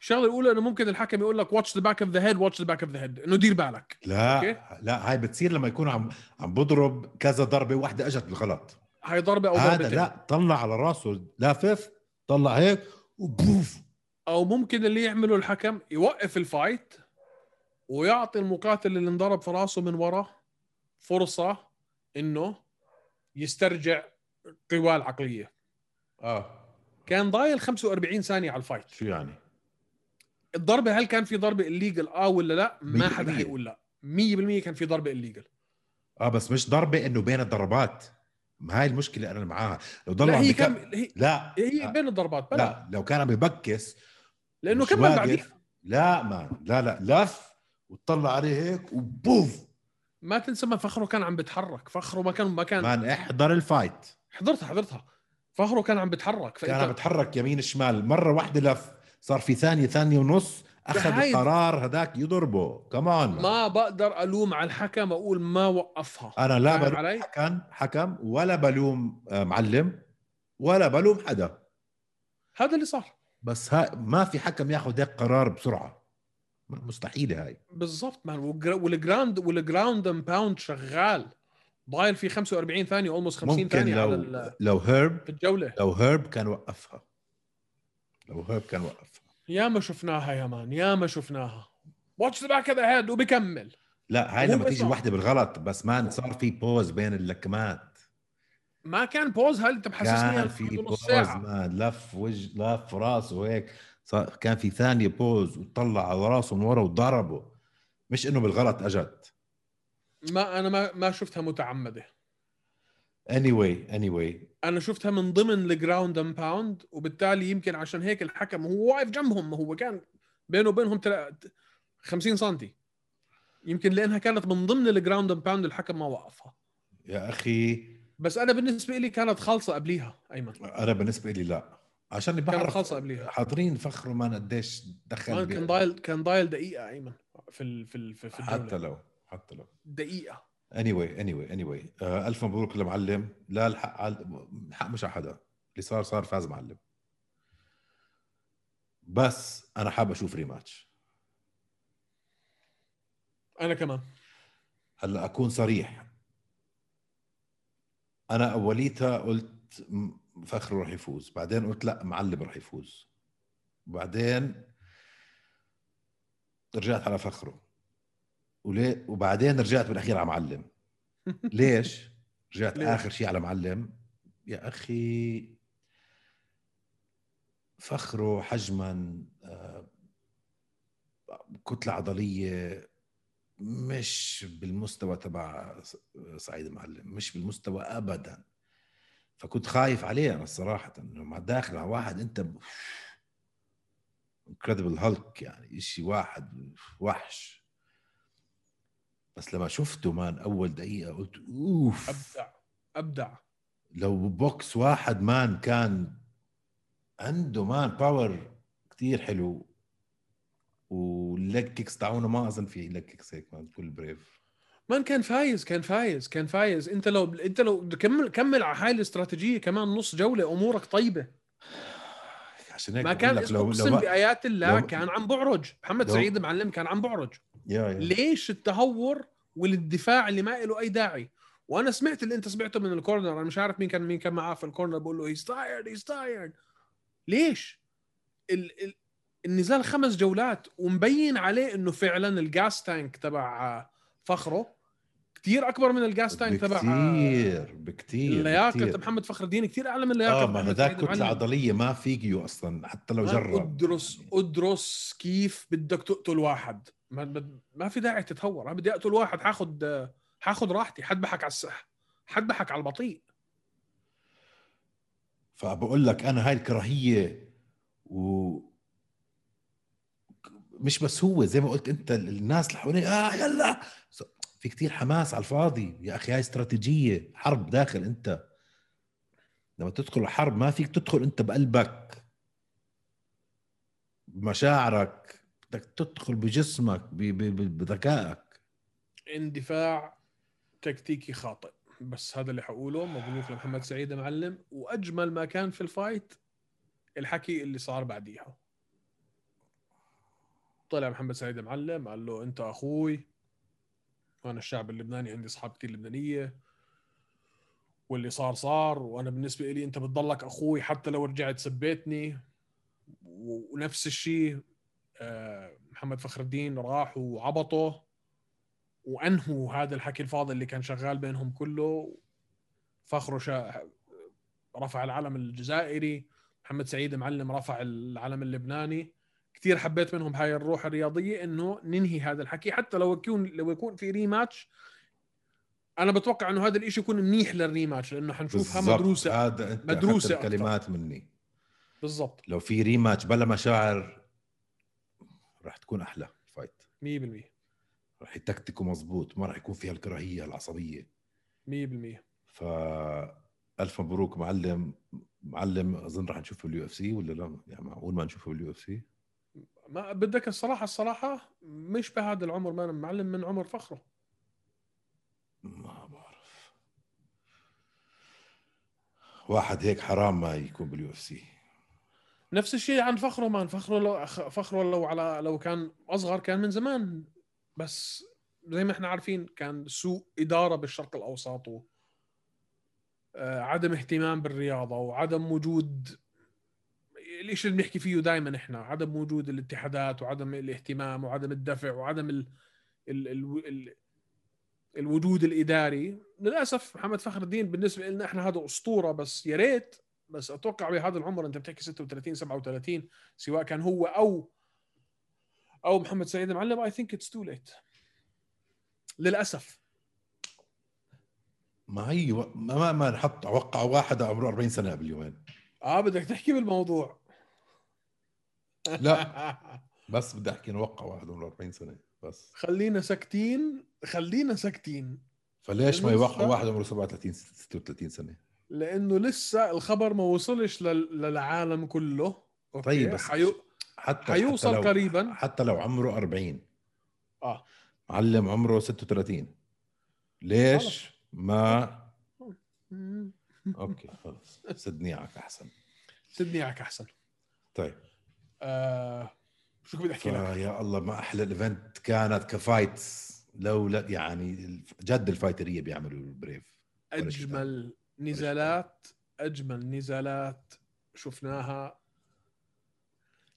Speaker 2: الشغله الاولى انه ممكن الحكم يقول لك واتش ذا باك اوف ذا هيد واتش ذا باك اوف ذا هيد انه دير بالك
Speaker 1: لا
Speaker 2: أوكي.
Speaker 1: لا هاي بتصير لما يكون عم عم بضرب كذا ضربه واحده اجت بالغلط
Speaker 2: هاي ضربه او
Speaker 1: هذا
Speaker 2: ضربتين
Speaker 1: لا طلع على راسه لافف طلع هيك وبوف
Speaker 2: او ممكن اللي يعمله الحكم يوقف الفايت ويعطي المقاتل اللي انضرب في راسه من ورا فرصه انه يسترجع قواه العقليه
Speaker 1: اه
Speaker 2: آه. كان ضايل 45 ثانيه على الفايت
Speaker 1: شو يعني؟
Speaker 2: الضربه هل كان في ضربه الليجل اه ولا لا ما
Speaker 1: مية
Speaker 2: حدا
Speaker 1: بالمية.
Speaker 2: حيقول لا 100% كان في ضربه الليجل
Speaker 1: اه بس مش ضربه انه بين الضربات ما هاي المشكله انا معاها لو ضل
Speaker 2: لا
Speaker 1: عم
Speaker 2: هي
Speaker 1: بكم-
Speaker 2: كم هي,
Speaker 1: لا
Speaker 2: هي بين الضربات بلا
Speaker 1: لا لو كان عم ببكس
Speaker 2: لانه
Speaker 1: مش
Speaker 2: كمل
Speaker 1: واقف.
Speaker 2: بعدين
Speaker 1: لا مان لا لا لف وطلع عليه هيك وبوف
Speaker 2: ما تنسى ما فخره كان عم بتحرك فخره ما كان ما كان
Speaker 1: مان احضر الفايت
Speaker 2: حضرتها حضرتها فخره كان عم بتحرك
Speaker 1: كان عم بتحرك يمين شمال مره واحده لف صار في ثانيه ثانيه ونص اخذ
Speaker 2: هاي-
Speaker 1: القرار هذاك يضربه كمان مان.
Speaker 2: ما بقدر الوم على الحكم اقول ما وقفها
Speaker 1: انا لا
Speaker 2: فاهم
Speaker 1: بلوم
Speaker 2: علي؟
Speaker 1: حكم حكم ولا بلوم آه، معلم ولا بلوم حدا
Speaker 2: هذا اللي صار
Speaker 1: بس ها ما في حكم ياخذ هيك قرار بسرعه م- مستحيله هاي
Speaker 2: بالضبط مان والجرا- والجراوند والجراوند اند باوند شغال ضايل في 45 ثانيه اولموست 50
Speaker 1: ممكن
Speaker 2: ثانيه
Speaker 1: لو
Speaker 2: على ال-
Speaker 1: لو هيرب
Speaker 2: في الجوله
Speaker 1: لو هيرب كان وقفها لو هيرب كان وقفها
Speaker 2: يا ما شفناها يا مان يا ما شفناها واتش ذا باك ذا هيد وبكمل
Speaker 1: لا هاي
Speaker 2: هو
Speaker 1: لما تيجي
Speaker 2: صار.
Speaker 1: وحده بالغلط بس مان صار في بوز بين اللكمات
Speaker 2: ما كان بوز هل انت محسسني
Speaker 1: كان
Speaker 2: هل
Speaker 1: في
Speaker 2: في نص
Speaker 1: بوز
Speaker 2: ساعه
Speaker 1: مان لف وجه لف راسه هيك صار كان في ثانيه بوز وطلع على راسه من ورا وضربه مش انه بالغلط اجت
Speaker 2: ما انا ما ما شفتها متعمده
Speaker 1: anyway anyway
Speaker 2: انا شفتها من ضمن الجراوند اند باوند وبالتالي يمكن عشان هيك الحكم هو واقف جنبهم ما هو كان بينه وبينهم تلا- 50 سم يمكن لانها كانت من ضمن الجراوند اند باوند الحكم ما وقفها
Speaker 1: يا اخي
Speaker 2: بس انا بالنسبه لي كانت خالصه قبليها ايمن
Speaker 1: انا بالنسبه لي لا عشان
Speaker 2: كانت
Speaker 1: بعرف
Speaker 2: خالصه قبليها
Speaker 1: حاضرين فخر ما قديش
Speaker 2: ما
Speaker 1: دخل
Speaker 2: كان
Speaker 1: بي-
Speaker 2: ضايل كان ضايل دقيقه ايمن في ال في ال في, في
Speaker 1: حتى
Speaker 2: الجولة.
Speaker 1: لو حتى لو
Speaker 2: دقيقه
Speaker 1: anyway anyway anyway آه الف مبروك لمعلم لا الحق على الحق مش على حدا اللي صار صار فاز معلم بس انا حاب اشوف ريماتش
Speaker 2: انا كمان
Speaker 1: هلا اكون صريح انا اوليتها قلت م- فخر رح يفوز بعدين قلت لا معلم رح يفوز بعدين رجعت على فخره وليه وبعدين رجعت بالاخير على معلم ليش رجعت
Speaker 2: ليش؟
Speaker 1: اخر شيء على معلم يا اخي فخره حجما آه، كتله عضليه مش بالمستوى تبع سعيد المعلم مش بالمستوى ابدا فكنت خايف عليه انا الصراحه انه مع داخل على واحد انت انكريدبل هالك يعني شيء واحد وحش بس لما شفته مان اول دقيقه قلت اوف
Speaker 2: ابدع ابدع
Speaker 1: لو بوكس واحد مان كان عنده مان باور كتير حلو والليج كيكس تاعونه ما اظن في ليج كيكس هيك مان كل بريف
Speaker 2: مان كان فايز كان فايز كان فايز انت لو انت لو كمل كمل على هاي الاستراتيجيه كمان نص جوله امورك طيبه
Speaker 1: عشان هيك
Speaker 2: ما
Speaker 1: بقول
Speaker 2: كان
Speaker 1: لك لو
Speaker 2: اقسم
Speaker 1: لو
Speaker 2: بايات الله
Speaker 1: لو-
Speaker 2: كان عم بعرج محمد
Speaker 1: لو- إيه.
Speaker 2: سعيد معلم كان عم بعرج
Speaker 1: يا يا
Speaker 2: ليش التهور والدفاع اللي ما له اي داعي وانا سمعت اللي انت سمعته من الكورنر انا مش عارف مين كان مين كان معاه في الكورنر بقول له هيز تايرد هيز تايرد ليش ال ال النزال خمس جولات ومبين عليه انه فعلا الجاس تانك تبع آه، فخره كتير اكبر من الجاس تانك تبع آه،
Speaker 1: بكتير بكتير
Speaker 2: اللياقه
Speaker 1: بكتير.
Speaker 2: محمد فخر الدين كتير اعلى من اللياقه
Speaker 1: اه ما
Speaker 2: محمد
Speaker 1: هذاك
Speaker 2: سعيد
Speaker 1: كتله
Speaker 2: المعلم.
Speaker 1: عضليه ما فيقيو اصلا حتى لو
Speaker 2: ما
Speaker 1: جرب يعني.
Speaker 2: ادرس ادرس كيف بدك تقتل واحد ما, ما- ما في داعي تتهور انا بدي اقتل واحد حاخد حاخد راحتي حدبحك على السح حدبحك على البطيء
Speaker 1: فبقول لك انا هاي الكراهيه و مش بس هو زي ما قلت انت الناس اللي حواليه اه يلا في كتير حماس على الفاضي يا اخي هاي استراتيجيه حرب داخل انت لما تدخل الحرب ما فيك تدخل انت بقلبك بمشاعرك بدك تدخل بجسمك ب- ب- ب- بذكائك
Speaker 2: اندفاع تكتيكي خاطئ بس هذا اللي حقوله مبروك لمحمد سعيد يا معلم واجمل ما كان في الفايت الحكي اللي صار بعديها طلع محمد سعيد يا معلم قال له انت اخوي وانا الشعب اللبناني عندي اصحاب كتير لبنانيه واللي صار صار وانا بالنسبه لي انت بتضلك اخوي حتى لو رجعت سبيتني و- ونفس الشيء آه، محمد فخر الدين راح وعبطه وانهوا هذا الحكي الفاضي اللي كان شغال بينهم كله فخره شا... رفع العلم الجزائري محمد سعيد معلم رفع العلم اللبناني كثير حبيت منهم هاي الروح الرياضيه انه ننهي هذا الحكي حتى لو يكون لو يكون في ريماتش انا بتوقع انه هذا الإشي يكون منيح للريماتش لانه حنشوفها
Speaker 1: بالضبط.
Speaker 2: مدروسه
Speaker 1: هذا انت
Speaker 2: مدروسة
Speaker 1: مدروسه
Speaker 2: أكتر.
Speaker 1: الكلمات مني
Speaker 2: بالضبط 100%
Speaker 1: لو في ريماتش بلا مشاعر راح تكون احلى الفايت راح يتكتكوا مزبوط ما راح يكون فيها الكراهيه العصبيه
Speaker 2: 100%
Speaker 1: ف الف مبروك معلم معلم اظن راح نشوفه باليو اف سي ولا لا يعني معقول ما نشوفه باليو اف سي
Speaker 2: ما بدك الصراحه الصراحه مش بهذا العمر ما أنا معلم من عمر فخره
Speaker 1: ما بعرف واحد هيك حرام ما يكون باليو اف سي
Speaker 2: نفس الشيء عن فخره مان فخره لو أخ- فخره لو على لو كان اصغر كان من زمان بس زي ما احنا عارفين كان سوء اداره بالشرق الاوسط و آه، عدم اهتمام بالرياضه وعدم وجود الشيء اللي بنحكي فيه دائما احنا عدم وجود الاتحادات وعدم الاهتمام وعدم الدفع وعدم ال... ال... ال... ال... الوجود الاداري للاسف محمد فخر الدين بالنسبه لنا احنا هذا اسطوره بس يا ريت بس اتوقع بهذا العمر انت بتحكي 36 37 سواء كان هو او او محمد سعيد المعلم اي ثينك اتس تو ليت للاسف
Speaker 1: ما هي و- ما ما, ما نحط اوقع واحد عمره 40 سنه قبل يومين
Speaker 2: اه بدك تحكي بالموضوع
Speaker 1: لا بس بدي احكي نوقع واحد عمره 40 سنه بس
Speaker 2: خلينا ساكتين خلينا ساكتين
Speaker 1: فليش ما يوقع
Speaker 2: بالنسبة-
Speaker 1: واحد عمره 37 36 سنه
Speaker 2: لانه لسه الخبر ما وصلش لل- للعالم كله أوكي.
Speaker 1: طيب، بس-
Speaker 2: حيو...
Speaker 1: حتى
Speaker 2: حيوصل
Speaker 1: حتى لو
Speaker 2: قريباً.
Speaker 1: حتى لو عمره 40
Speaker 2: اه
Speaker 1: معلم عمره 36 ليش ما اوكي خلص صدنيعك احسن
Speaker 2: سدني ياك احسن
Speaker 1: طيب
Speaker 2: آه... شو كنت بدي احكي لك؟
Speaker 1: يا الله ما احلى الايفنت كانت كفايتس لولا يعني الف- جد الفايتريه بيعملوا البريف ولا شي تاني.
Speaker 2: اجمل نزالات اجمل نزالات شفناها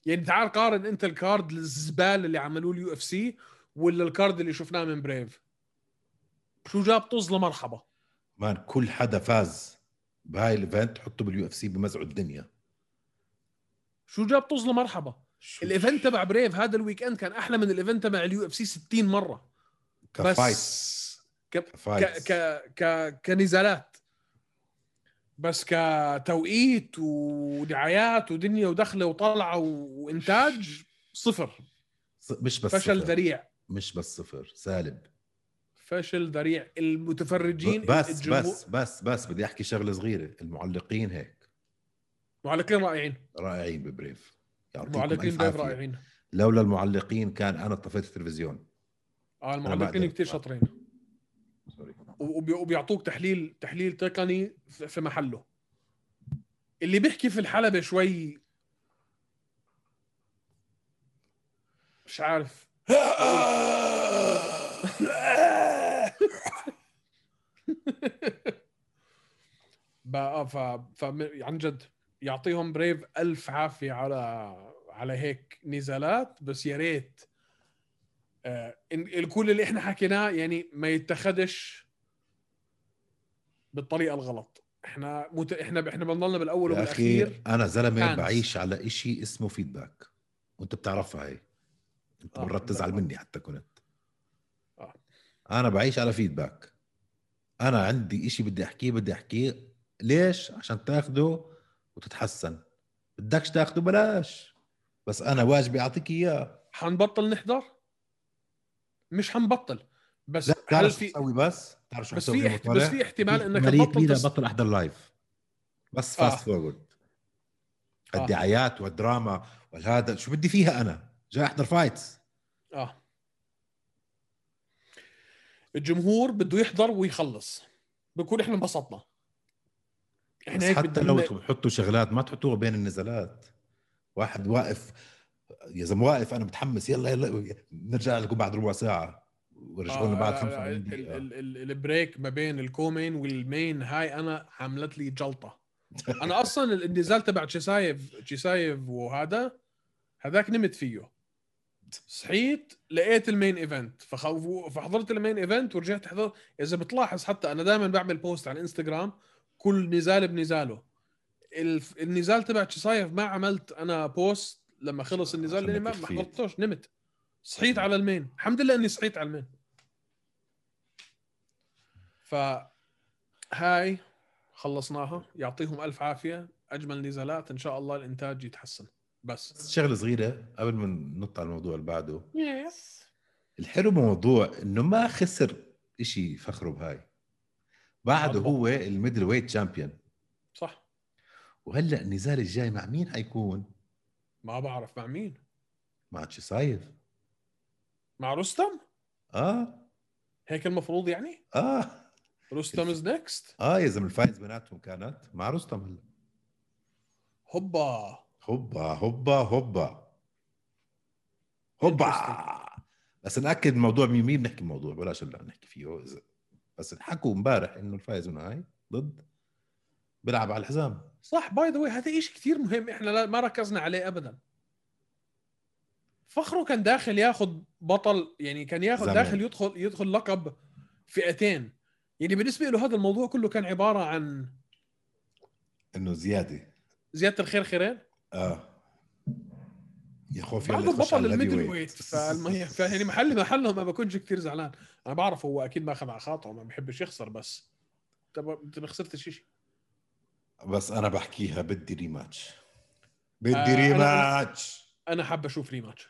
Speaker 2: يعني تعال قارن انت الكارد الزباله اللي عملوه اليو اف سي ولا الكارد اللي شفناه من بريف شو جاب طز لمرحبا
Speaker 1: مان كل حدا فاز بهاي الايفنت حطه باليو اف سي بمزعوا الدنيا
Speaker 2: شو جاب طز لمرحبا
Speaker 1: شو-
Speaker 2: الايفنت تبع بريف هذا الويك اند كان احلى من الايفنت تبع اليو اف سي 60 مره
Speaker 1: كفايتس
Speaker 2: بس ك... ك...
Speaker 1: كفايتس
Speaker 2: ك... ك... كنزالات بس كتوقيت ودعايات ودنيا ودخله وطلعه وانتاج صفر
Speaker 1: ص- مش بس
Speaker 2: فشل
Speaker 1: صفر
Speaker 2: ذريع
Speaker 1: مش بس صفر سالب
Speaker 2: فشل ذريع المتفرجين
Speaker 1: بس
Speaker 2: الجمهور-
Speaker 1: بس بس بس بدي احكي شغله صغيره المعلقين هيك
Speaker 2: معلقين رائعين
Speaker 1: رائعين ببريف يعطيكم
Speaker 2: معلقين
Speaker 1: ألف
Speaker 2: دايف
Speaker 1: عافية.
Speaker 2: رائعين
Speaker 1: لولا المعلقين كان انا طفيت التلفزيون
Speaker 2: اه
Speaker 1: ما
Speaker 2: المعلقين
Speaker 1: أقدر.
Speaker 2: كثير شاطرين
Speaker 1: سوري
Speaker 2: وبي- وبيعطوك تحليل تحليل تقني في في محله اللي بيحكي في الحلبة شوي مش عارف بقى ف... ف عن جد يعطيهم بريف ألف عافية على على هيك نزالات بس يا ريت آه، إن- الكل اللي احنا حكيناه يعني ما يتخدش بالطريقة الغلط احنا مت... احنا احنا بنضلنا بالأول
Speaker 1: يا اخي
Speaker 2: وبالأخير
Speaker 1: انا زلمه
Speaker 2: fans.
Speaker 1: بعيش على إشي اسمه فيدباك وانت بتعرفها هي انت
Speaker 2: آه،
Speaker 1: مرات تزعل
Speaker 2: آه.
Speaker 1: مني حتى كنت
Speaker 2: آه.
Speaker 1: انا بعيش على فيدباك انا عندي إشي بدي احكيه بدي احكيه ليش عشان تاخده وتتحسن بدكش تاخده بلاش بس انا واجبي اعطيك اياه
Speaker 2: حنبطل نحضر مش حنبطل بس
Speaker 1: لا
Speaker 2: هل
Speaker 1: بتعرف شو
Speaker 2: في
Speaker 1: اسوي بس بتعرف شو
Speaker 2: بس
Speaker 1: اسوي
Speaker 2: في احت- بس في احتمال انك
Speaker 1: عملية
Speaker 2: تبطل
Speaker 1: كبيرة
Speaker 2: تس...
Speaker 1: بطل احضر لايف بس
Speaker 2: آه.
Speaker 1: فاست فورورد
Speaker 2: آه.
Speaker 1: الدعايات والدراما والهذا شو بدي فيها انا جاي احضر فايتس
Speaker 2: اه الجمهور بده يحضر ويخلص بكون احنا انبسطنا
Speaker 1: بس
Speaker 2: احنا هيك
Speaker 1: حتى لو
Speaker 2: بدنا
Speaker 1: تحطوا شغلات ما تحطوها بين النزالات واحد واقف يا زلمه واقف انا متحمس يلا يلا نرجع لكم بعد ربع ساعه ورجعوا
Speaker 2: آه،
Speaker 1: لنا بعد 45 دقيقه
Speaker 2: البريك ما بين الكومين والمين هاي انا عملت لي جلطه انا اصلا النزال تبع تشيسايف تشيسايف وهذا هذاك نمت فيه صحيت لقيت المين ايفنت فخو... فحضرت المين ايفنت ورجعت حضرت اذا بتلاحظ حتى انا دائما بعمل بوست على الانستغرام كل نزال بنزاله الف... النزال تبع تشيسايف ما عملت انا بوست لما خلص النزال
Speaker 1: عشان
Speaker 2: لاني ما
Speaker 1: ما
Speaker 2: ما
Speaker 1: تخفيت.
Speaker 2: حضرتوش نمت صحيت على المين الحمد لله اني صحيت على المين ف هاي خلصناها يعطيهم الف عافيه اجمل نزالات ان شاء الله الانتاج يتحسن بس
Speaker 1: بس شغله صغيره قبل ما ننط على الموضوع اللي بعده
Speaker 2: يس
Speaker 1: الحلو بموضوع انه ما خسر إشي فخره بهاي بعده
Speaker 2: بالضبط.
Speaker 1: هو الميدل ويت شامبيون
Speaker 2: صح
Speaker 1: وهلا النزال الجاي مع مين حيكون؟
Speaker 2: ما بعرف مع مين
Speaker 1: مع تشيسايف
Speaker 2: مع رستم
Speaker 1: اه
Speaker 2: هيك المفروض يعني
Speaker 1: اه
Speaker 2: رستم از نيكست
Speaker 1: اه يا زلمه الفايز بيناتهم كانت مع رستم هلا
Speaker 2: هوبا
Speaker 1: هوبا هوبا هوبا هوبا بس ناكد الموضوع مين مين بنحكي الموضوع بلاش هلا نحكي فيه إذا- بس حكوا امبارح انه الفايز من هاي ضد بيلعب على الحزام
Speaker 2: صح باي ذا واي هذا شيء كثير مهم احنا لا ما ركزنا عليه ابدا فخره كان داخل ياخذ بطل يعني كان ياخذ
Speaker 1: زمان.
Speaker 2: داخل يدخل يدخل لقب فئتين يعني بالنسبه له هذا الموضوع كله كان عباره عن
Speaker 1: انه زياده
Speaker 2: زياده الخير خيرين
Speaker 1: اه يا خوف يلا
Speaker 2: بعده
Speaker 1: يخش على
Speaker 2: بطل
Speaker 1: الهيفي
Speaker 2: الميدل
Speaker 1: ويت
Speaker 2: ويت فالم- فيعني محل محله ما بكونش كثير زعلان انا بعرف هو اكيد ماخذ على خاطره ما بحبش يخسر بس طب انت ما خسرتش شيء
Speaker 1: بس انا بحكيها بدي ريماتش
Speaker 2: آه،
Speaker 1: بدي
Speaker 2: أنا-
Speaker 1: ريماتش
Speaker 2: انا حاب اشوف ريماتش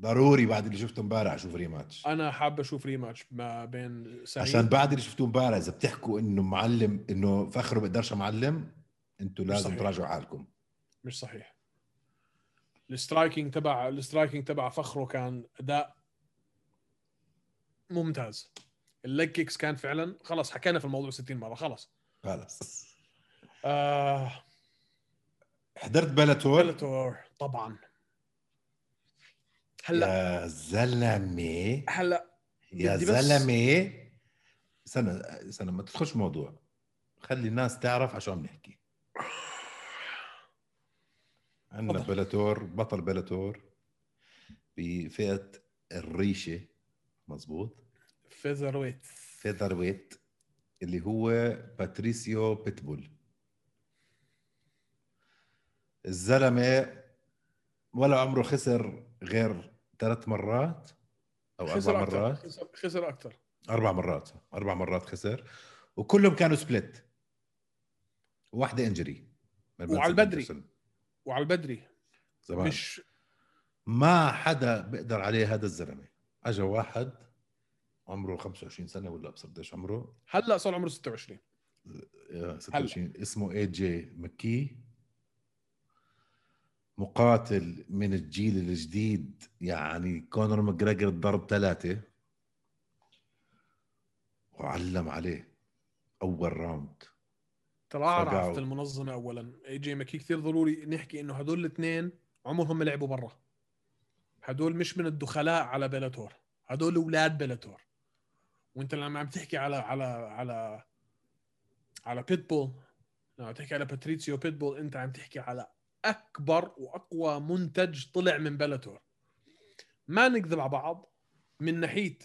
Speaker 1: ضروري بعد اللي شفته امبارح اشوف ريماتش
Speaker 2: انا حاب اشوف ريماتش ما بين سعيد
Speaker 1: عشان بعد اللي شفتوه امبارح اذا بتحكوا انه معلم انه فخره بقدرش معلم انتوا
Speaker 2: مش
Speaker 1: لازم
Speaker 2: صحيح.
Speaker 1: تراجعوا حالكم
Speaker 2: مش صحيح السترايكينج تبع السترايكينج تبع فخره كان اداء ممتاز الليج كيكس كان فعلا خلاص حكينا في الموضوع 60 مره خلاص
Speaker 1: خلص
Speaker 2: آه
Speaker 1: حضرت بلاتور
Speaker 2: بيلاتور طبعا هلا
Speaker 1: يا زلمه
Speaker 2: هلا
Speaker 1: يا
Speaker 2: بدي بس-
Speaker 1: زلمه استنى استنى ما تدخلش موضوع خلي الناس تعرف عشان عم نحكي عندنا
Speaker 2: تفضل.
Speaker 1: بلاتور بطل بلاتور بفئه الريشه مزبوط
Speaker 2: فيذر ويت
Speaker 1: فيذر ويت اللي هو باتريسيو بيتبول الزلمه ولا عمره خسر غير ثلاث مرات او اربع
Speaker 2: خسر
Speaker 1: مرات
Speaker 2: اكثر خسر- خسر اكثر
Speaker 1: اربع مرات اربع مرات خسر وكلهم كانوا سبلت واحده انجري
Speaker 2: وعلى البدري. وعلى البدري
Speaker 1: زمان مش
Speaker 2: مش
Speaker 1: ما حدا بيقدر عليه هذا الزلمه اجى واحد عمره 25 سنه ولا ابصر قديش عمره
Speaker 2: هلا صار عمره 26
Speaker 1: آه، 26 اسمه اي جي مكي مقاتل من الجيل الجديد يعني كونر ماجريجر ضرب ثلاثة وعلم عليه أول راوند
Speaker 2: ترعرعت
Speaker 1: فقعوا.
Speaker 2: المنظمه اولا اي جي ماكي كثير ضروري نحكي انه هدول الاثنين عمرهم ما لعبوا برا هدول مش من الدخلاء على بلاتور هدول اولاد بلاتور وانت لما عم تحكي على على على على بيتبول لما عم تحكي على باتريسيو بيتبول انت عم تحكي على اكبر واقوى منتج طلع من بلاتور ما نكذب على بعض من ناحيه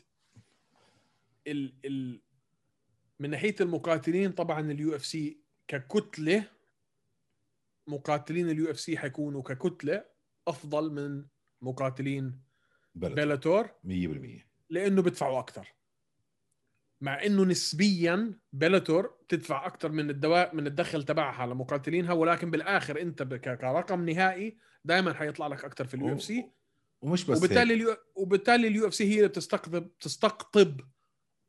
Speaker 2: ال ال من ناحيه المقاتلين طبعا اليو اف سي ككتله مقاتلين اليو اف سي حيكونوا ككتله افضل من مقاتلين
Speaker 1: بلد
Speaker 2: بلاتور
Speaker 1: 100%
Speaker 2: لانه بدفعوا اكثر مع انه نسبيا بلاتور بتدفع اكثر من الدواء من الدخل تبعها لمقاتلينها ولكن بالاخر انت ب- ك- كرقم نهائي دائما حيطلع لك اكثر في اليو اف سي
Speaker 1: ومش بس
Speaker 2: وبالتالي
Speaker 1: هيك.
Speaker 2: اليو وبالتالي اليو اف سي هي اللي بتستقطب تستقطب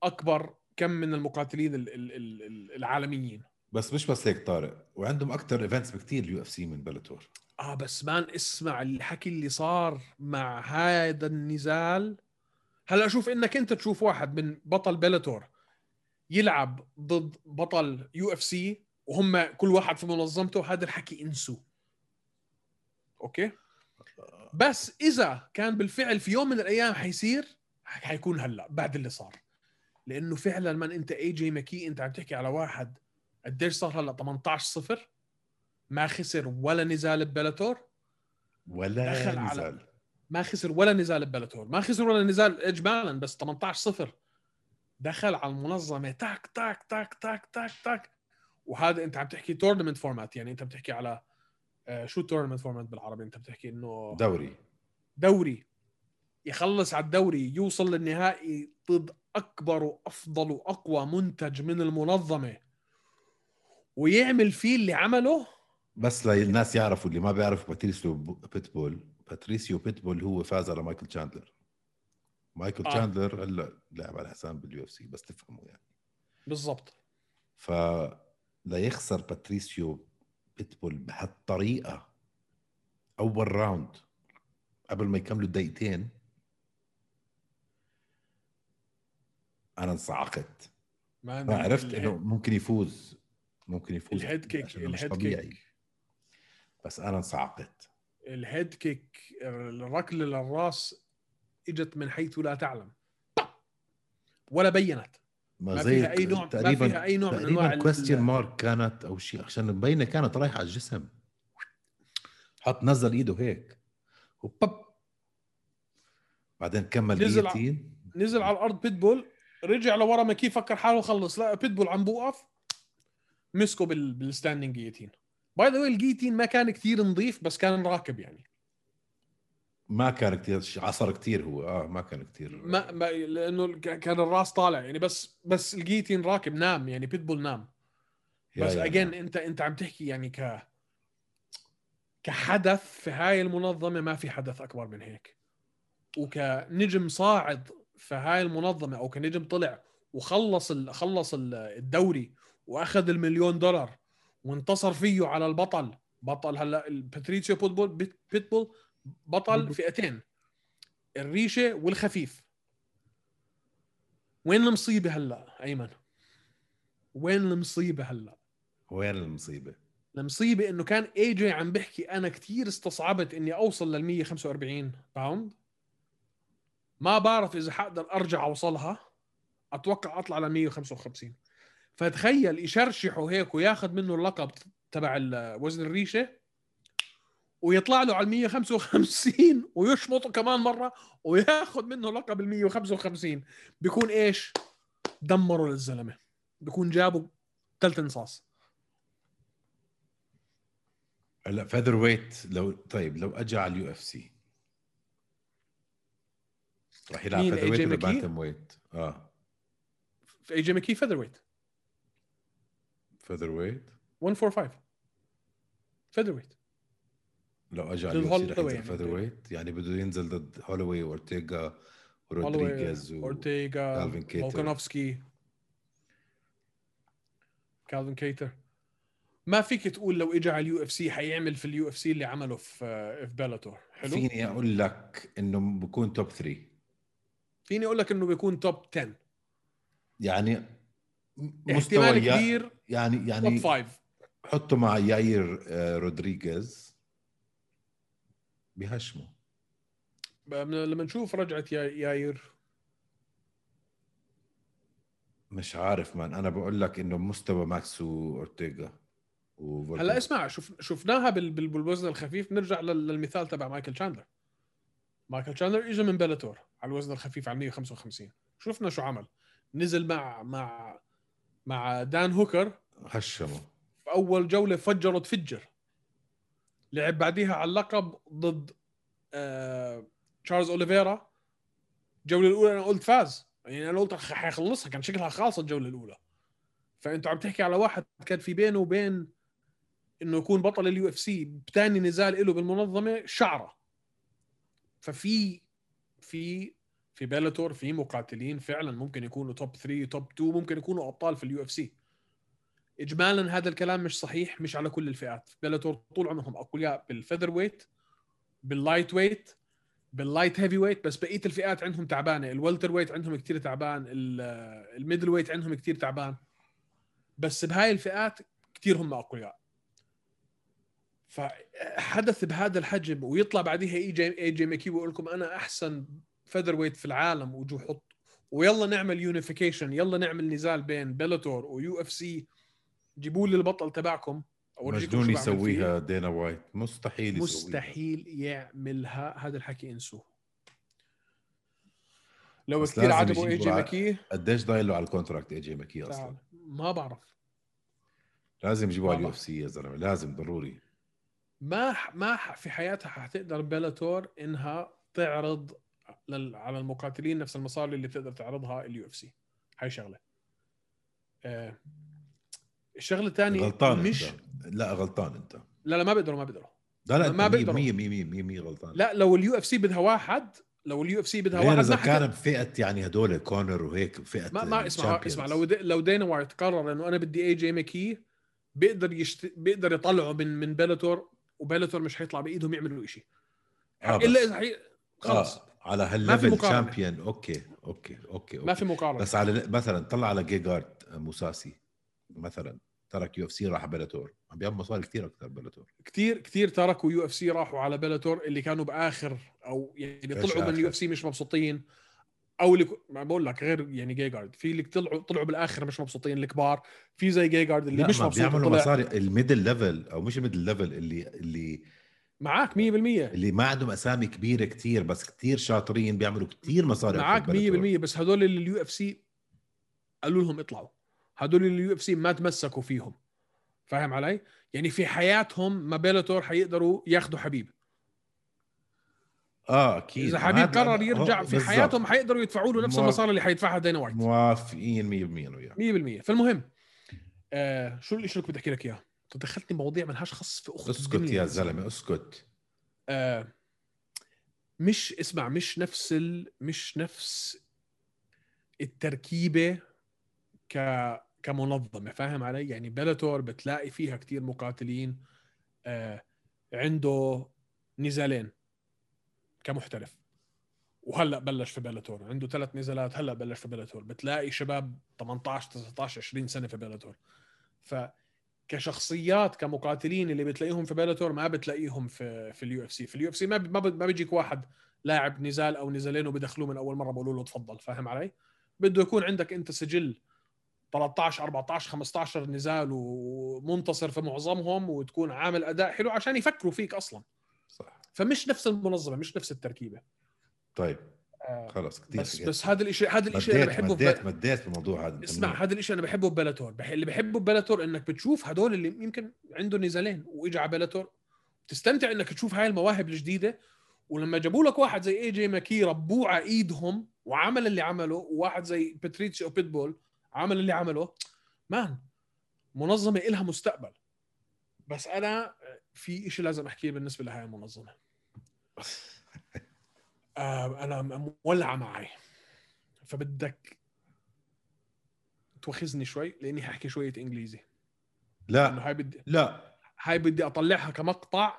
Speaker 2: اكبر كم من المقاتلين ال- ال- ال- ال- العالميين
Speaker 1: بس مش بس هيك طارق وعندهم اكثر ايفنتس بكثير اليو اف سي من بلاتور
Speaker 2: اه بس مان اسمع الحكي اللي صار مع هذا النزال هلا شوف انك انت تشوف واحد من بطل بلاتور يلعب ضد بطل يو اف سي وهم كل واحد في منظمته هذا الحكي انسوا اوكي بس اذا كان بالفعل في يوم من الايام حيصير حيكون هلا بعد اللي صار لانه فعلا من انت اي جي ماكي انت عم تحكي على واحد قديش صار هلا 18 صفر ما خسر ولا نزال ببلاتور
Speaker 1: ولا
Speaker 2: دخل على-
Speaker 1: نزال
Speaker 2: ما خسر ولا نزال ببلاتور ما خسر ولا نزال اجمالا بس 18 صفر دخل على المنظمه تاك تاك تاك تاك تاك تاك وهذا انت عم تحكي تورنمنت فورمات يعني انت بتحكي على آه، شو تورنمنت فورمات بالعربي انت بتحكي انه
Speaker 1: دوري
Speaker 2: دوري يخلص على الدوري يوصل للنهائي ضد اكبر وافضل واقوى منتج من المنظمه ويعمل فيه اللي عمله
Speaker 1: بس للناس يعرفوا اللي ما بيعرف باتريسيو ب- بيتبول باتريسيو بيتبول هو فاز على مايكل تشاندلر مايكل
Speaker 2: آه.
Speaker 1: آه. تشاندلر هلا لعب على حساب باليو اف سي بس تفهموا يعني
Speaker 2: بالضبط
Speaker 1: ف ليخسر باتريسيو بيتبول بهالطريقه اول راوند قبل ما يكملوا دقيقتين انا انصعقت
Speaker 2: ما
Speaker 1: ما عرفت انه ممكن يفوز ممكن يفوز
Speaker 2: الهيد كيك
Speaker 1: عشان إنه مش
Speaker 2: الهيد
Speaker 1: طبيعي.
Speaker 2: كيك
Speaker 1: بس انا انصعقت
Speaker 2: الهيد كيك الركله للراس اجت من حيث لا تعلم ولا بينت ما فيها أي نوع- ما
Speaker 1: تقريبا
Speaker 2: فيها أي نوع من أنواع
Speaker 1: تقريبا
Speaker 2: ال-
Speaker 1: كويستشن مارك كانت او شيء عشان مبينه كانت رايحه على الجسم حط نزل ايده هيك وبب بعدين كمل
Speaker 2: نزل
Speaker 1: دقيقتين
Speaker 2: نزل على الارض بيتبول رجع لورا ما كيف فكر حاله خلص لا بيتبول عم بوقف مسكه بال... بالستاندينج جيتين باي ذا واي الجيتين ما كان كثير نظيف بس كان راكب يعني
Speaker 1: ما كان كثير عصر كثير هو اه ما كان كثير
Speaker 2: ما, ما لانه ك- كان الراس طالع يعني بس بس الجيتين راكب نام يعني بيتبول نام بس اجين انت انت عم تحكي يعني ك كحدث في هاي المنظمه ما في حدث اكبر من هيك وكنجم صاعد في هاي المنظمه او كنجم طلع وخلص ال... خلص ال- الدوري واخذ المليون دولار وانتصر فيه على البطل بطل هلا ال- باتريتسيو بوتبول بيت- بيتبول بطل فئتين الريشه والخفيف وين المصيبه هلا ايمن وين المصيبه هلا
Speaker 1: وين المصيبه؟
Speaker 2: المصيبه انه كان اي جي عم بحكي انا كثير استصعبت اني اوصل لل 145 باوند ما بعرف اذا حقدر ارجع اوصلها اتوقع اطلع ل 155 فتخيل يشرشحه هيك وياخذ منه اللقب تبع ال- وزن الريشه ويطلع له على ال 155 ويشمطه كمان مره وياخذ منه لقب ال 155 بيكون ايش؟ دمروا للزلمه بيكون جابوا ثلاث انصاص
Speaker 1: هلا فيذر ويت لو طيب لو اجى على اليو اف سي راح يلعب
Speaker 2: مين،
Speaker 1: فيذر ويت
Speaker 2: AJ
Speaker 1: ولا
Speaker 2: McKee؟
Speaker 1: بانتم ويت؟ اه
Speaker 2: في اي جي ماكي فيذر ويت
Speaker 1: فيذر ويت
Speaker 2: 145 فيذر ويت
Speaker 1: لو اجى
Speaker 2: ضد
Speaker 1: على اليو اف سي رح
Speaker 2: هولوواي يعني.
Speaker 1: ينزل فيذر ويت يعني بده ينزل ضد هولوي واورتيغا
Speaker 2: uh,
Speaker 1: ورودريغيز
Speaker 2: هولوي
Speaker 1: و...
Speaker 2: اورتيغا
Speaker 1: كالفين كيتر.
Speaker 2: فولكانوفسكي كالفن كيتر ما فيك تقول لو اجى على اليو اف سي حيعمل في اليو اف سي اللي عمله في في بلاتور حلو فيني,
Speaker 1: فيني اقول لك انه بكون توب 3
Speaker 2: فيني اقول لك انه بيكون توب 10
Speaker 1: يعني مستوى
Speaker 2: احتمال
Speaker 1: يا-
Speaker 2: كبير
Speaker 1: يعني
Speaker 2: توب
Speaker 1: يعني
Speaker 2: 5
Speaker 1: حطه مع ياير آه، رودريغيز بهشمه
Speaker 2: من- لما نشوف رجعه يا ياير
Speaker 1: مش عارف مان انا بقول لك انه مستوى ماكس واورتيغا وفولكوف.
Speaker 2: هلا اسمع شوف شفناها بال- بال- بالوزن الخفيف نرجع لل- للمثال تبع مايكل شاندلر مايكل شاندلر اجى من بلاتور على الوزن الخفيف على 155 شفنا شو عمل نزل مع مع مع دان هوكر
Speaker 1: هشمه
Speaker 2: في اول جوله فجره تفجر لعب بعديها على اللقب ضد آه تشارلز اوليفيرا الجوله الاولى انا قلت فاز يعني انا قلت خ- حيخلصها كان شكلها خالصه الجوله الاولى فانتوا عم تحكي على واحد كان في بينه وبين انه يكون بطل اليو اف سي بثاني نزال له بالمنظمه شعره ففي في في بيلاتور في مقاتلين فعلا ممكن يكونوا توب 3 توب 2 ممكن يكونوا ابطال في اليو اف سي اجمالا هذا الكلام مش صحيح مش على كل الفئات بلاتور طول عمرهم اقوياء بالفيذر ويت باللايت ويت باللايت هيفي ويت بس بقيه الفئات عندهم تعبانه الولتر ويت عندهم كتير تعبان ال- الميدل ويت عندهم كتير تعبان بس بهاي الفئات كتير هم اقوياء فحدث بهذا الحجم ويطلع بعديها اي جي اي جي ماكي ويقول لكم انا احسن فيذر ويت في العالم وجو حط ويلا نعمل يونيفيكيشن يلا نعمل نزال بين بيلاتور ويو اف سي جيبوا لي البطل تبعكم أورجيكم شو
Speaker 1: مجنون
Speaker 2: بعمل فيه.
Speaker 1: يسويها دينا وايت مستحيل يسويها
Speaker 2: مستحيل يعملها هذا الحكي انسوه لو
Speaker 1: بس
Speaker 2: كثير
Speaker 1: لازم
Speaker 2: عجبه اي
Speaker 1: يجيبوا
Speaker 2: جي
Speaker 1: ع-
Speaker 2: ماكي
Speaker 1: قديش ضايل له على الكونتراكت اي جي ماكي اصلا
Speaker 2: تعال. ما بعرف
Speaker 1: لازم يجيبوها
Speaker 2: ما
Speaker 1: اليو
Speaker 2: بعرف.
Speaker 1: اف سي يا زلمه لازم ضروري
Speaker 2: ما ح- ما ح- في حياتها حتقدر بلاتور انها تعرض لل... على المقاتلين نفس المصاري اللي بتقدر تعرضها اليو اف سي هاي شغله آه. الشغله الثانيه
Speaker 1: غلطان
Speaker 2: يعني مش
Speaker 1: انت لا غلطان انت
Speaker 2: لا لا ما بقدروا ما بقدروا
Speaker 1: لا لا
Speaker 2: ما
Speaker 1: ما
Speaker 2: بقدروا.
Speaker 1: 100 100 100 غلطان
Speaker 2: لا لو اليو اف سي بدها واحد لو اليو اف سي بدها
Speaker 1: غير
Speaker 2: واحد
Speaker 1: اذا
Speaker 2: ما حتقدر
Speaker 1: كان بفئه يعني هدول كونر وهيك فئه
Speaker 2: ما ما اسمع آه،
Speaker 1: الشامبيونز.
Speaker 2: اسمع لو دي لو دينا وايت قرر انه انا بدي اي جي ماكي بيقدر يشت... بيقدر يطلعه من من بلاتور وبلاتور مش حيطلع بايدهم يعملوا شيء
Speaker 1: آه
Speaker 2: الا
Speaker 1: بس.
Speaker 2: اذا حي... خلص
Speaker 1: آه على
Speaker 2: ما في
Speaker 1: هالليفل
Speaker 2: مقارنة.
Speaker 1: شامبيون اوكي اوكي اوكي
Speaker 2: ما في مقارنه
Speaker 1: بس على مثلا طلع على جيجارد موساسي مثلا ترك يو اف سي راح بلاتور عم بيعمل مصاري كثير اكثر بلاتور
Speaker 2: كثير كثير تركوا يو اف سي راحوا على بلاتور اللي كانوا باخر او يعني
Speaker 1: فش
Speaker 2: طلعوا من
Speaker 1: آخر.
Speaker 2: يو اف سي مش مبسوطين او اللي ك- ما بقول لك غير يعني جيجارد في اللي طلعوا طلعوا بالاخر مش مبسوطين الكبار في زي جيجارد اللي
Speaker 1: لا
Speaker 2: مش
Speaker 1: ما
Speaker 2: مبسوط
Speaker 1: بيعملوا
Speaker 2: طلع
Speaker 1: مصاري الميدل ليفل او مش الميدل ليفل اللي اللي
Speaker 2: معاك 100%
Speaker 1: اللي ما عندهم اسامي كبيره كثير بس كثير شاطرين بيعملوا كثير مصاري أكتر
Speaker 2: معاك 100%
Speaker 1: بلاتور.
Speaker 2: بس هدول اللي اليو اف سي قالوا لهم اطلعوا هدول اللي اليو اف سي ما تمسكوا فيهم فاهم علي؟ يعني في حياتهم ما بيلاتور حيقدروا ياخذوا حبيب
Speaker 1: اه اكيد
Speaker 2: اذا حبيب
Speaker 1: عاد-
Speaker 2: قرر
Speaker 1: هو-
Speaker 2: يرجع في
Speaker 1: بالظبط.
Speaker 2: حياتهم حيقدروا يدفعوا له نفس
Speaker 1: أه، مو-
Speaker 2: المصاري اللي حيدفعها دينا وايت 100%
Speaker 1: موافقين 100% انا وياك
Speaker 2: فالمهم آه شو الشيء اللي كنت بدي احكي لك اياه؟ أنت دخلتني مواضيع ملهاش خص في اخت
Speaker 1: اسكت
Speaker 2: الدنيا.
Speaker 1: يا زلمه اسكت
Speaker 2: آه، مش اسمع مش نفس ال مش نفس التركيبه ك كمنظمه فاهم علي يعني بلاتور بتلاقي فيها كتير مقاتلين آه، عنده نزالين كمحترف وهلا بلش في بلاتور عنده ثلاث نزالات هلا بلش في بلاتور بتلاقي شباب 18 19 20 سنه في بلاتور ف كشخصيات كمقاتلين اللي بتلاقيهم في بلاتور ما بتلاقيهم في في اليو اف سي في اليو اف سي ما بي- ما بي- ما بيجيك واحد لاعب نزال او نزالين وبدخلوه من اول مره بقولوا له تفضل فاهم علي بده يكون عندك انت سجل 13 14 15 نزال ومنتصر في معظمهم وتكون عامل اداء حلو عشان يفكروا فيك اصلا
Speaker 1: صح
Speaker 2: فمش نفس المنظمه مش نفس التركيبه
Speaker 1: طيب
Speaker 2: آه،
Speaker 1: خلص كثير
Speaker 2: بس بس هذا الشيء هذا الشيء انا
Speaker 1: مديت
Speaker 2: بحبه في
Speaker 1: مديت مديت بالموضوع هذا
Speaker 2: اسمع هذا الشيء انا بحبه ببلاتور بح... اللي بحبه ببلاتور انك بتشوف هدول اللي يمكن عنده نزالين واجى على بلاتور تستمتع انك تشوف هاي المواهب الجديده ولما جابوا لك واحد زي اي جي ماكي ربوه على ايدهم وعمل اللي عمله وواحد زي باتريتشيو بيتبول عمل اللي عمله مان منظمه إلها مستقبل بس انا في شيء لازم احكيه بالنسبه لهاي المنظمه آه، انا م- مولعه معي فبدك تواخذني شوي لاني حاحكي شويه انجليزي انه
Speaker 1: لا
Speaker 2: هاي بدي
Speaker 1: لا
Speaker 2: هاي بدي اطلعها كمقطع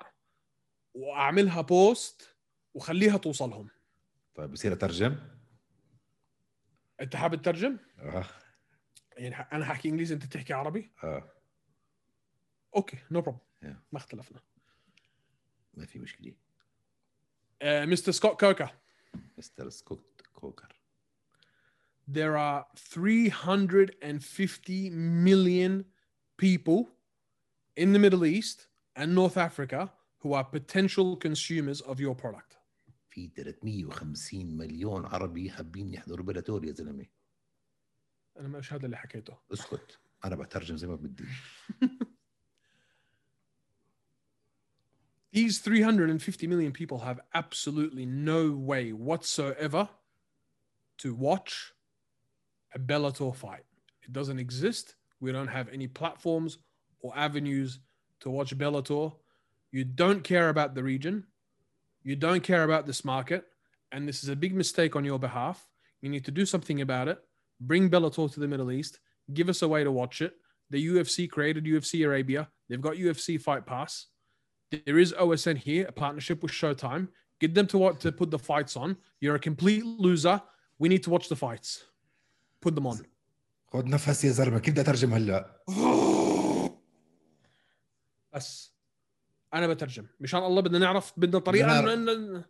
Speaker 2: واعملها بوست وخليها توصلهم
Speaker 1: طيب بصير اترجم
Speaker 2: انت حابب تترجم
Speaker 1: اه
Speaker 2: يعني ح- انا حاحكي انجليزي انت تحكي عربي
Speaker 1: اه
Speaker 2: اوكي نو بروبلم
Speaker 1: Yeah.
Speaker 2: ما اختلفنا
Speaker 1: ما في مشكله
Speaker 2: آه، مستر سكوت كوكا
Speaker 1: مستر سكوت كوكر
Speaker 2: there are 350 million people in the Middle East and North Africa who are potential consumers of your product.
Speaker 1: في 350 مليون عربي حابين يحضروا بلاتور يا زلمه
Speaker 2: انا مش هذا اللي حكيته.
Speaker 1: اسكت انا بترجم زي ما بدي
Speaker 2: These 350 million people have absolutely no way whatsoever to watch a Bellator fight. It doesn't exist. We don't have any platforms or avenues to watch Bellator. You don't care about the region. You don't care about this market. And this is a big mistake on your behalf. You need to do something about it. Bring Bellator to the Middle East. Give us a way to watch it. The UFC created UFC Arabia. They've got UFC Fight Pass. There is OSN here, a partnership with Showtime. Get them to what to put the fights on. You're a complete loser. We need to watch the fights. Put them on.
Speaker 1: خد نفس يا زلمه كيف بدي اترجم هلا
Speaker 2: بس انا بترجم مشان الله بدنا نعرف بدنا طريقه
Speaker 1: بدنا
Speaker 2: إن- إن-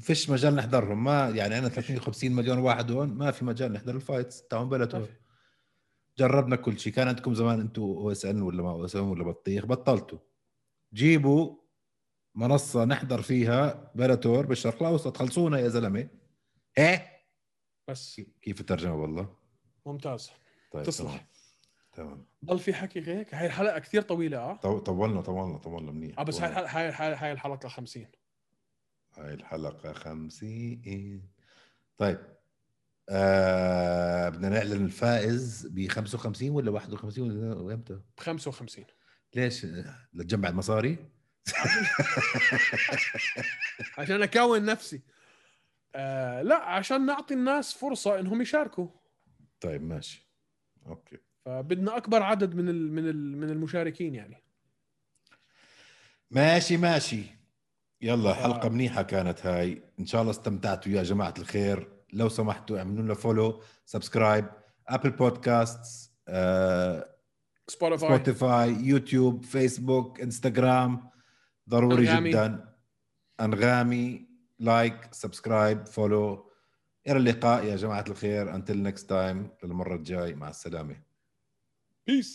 Speaker 1: فيش مجال نحضرهم ما يعني انا 350 مليون واحد هون ما في مجال نحضر الفايتس تاعون
Speaker 2: ما
Speaker 1: بلاتور
Speaker 2: في.
Speaker 1: جربنا كل شيء كان عندكم زمان انتم او اس ان ولا ما او اس ان ولا بطيخ بطلتوا جيبوا منصه نحضر فيها بلاتور بالشرق الاوسط خلصونا يا زلمه ايه
Speaker 2: بس
Speaker 1: كيف الترجمه والله
Speaker 2: ممتاز
Speaker 1: طيب
Speaker 2: تصلح.
Speaker 1: تمام
Speaker 2: ضل في حكي هيك هاي الحلقه كثير طويله اه
Speaker 1: تمام. طو- طولنا طولنا طولنا منيح
Speaker 2: اه بس هاي
Speaker 1: طولنا.
Speaker 2: الحلقه هاي الحلقه هاي الحلقه 50
Speaker 1: هاي الحلقة خمسين طيب آه بدنا نعلن الفائز ب 55 ولا 51 ولا امتى؟
Speaker 2: 55
Speaker 1: ليش؟ لتجمع المصاري؟
Speaker 2: عشان اكون نفسي آه لا عشان نعطي الناس فرصه انهم يشاركوا
Speaker 1: طيب ماشي اوكي
Speaker 2: فبدنا اكبر عدد من ال من ال من المشاركين يعني
Speaker 1: ماشي ماشي يلا حلقة
Speaker 2: آه.
Speaker 1: منيحة كانت هاي ان شاء الله استمتعتوا يا جماعة الخير لو سمحتوا اعملوا لنا فولو سبسكرايب ابل بودكاست آه
Speaker 2: سبوتيفاي
Speaker 1: سبوتيفاي يوتيوب فيسبوك انستغرام ضروري أنغامي.
Speaker 2: أنغامي.
Speaker 1: جدا انغامي لايك سبسكرايب فولو الى اللقاء يا جماعه الخير until next time للمره الجاي مع السلامه
Speaker 2: بيس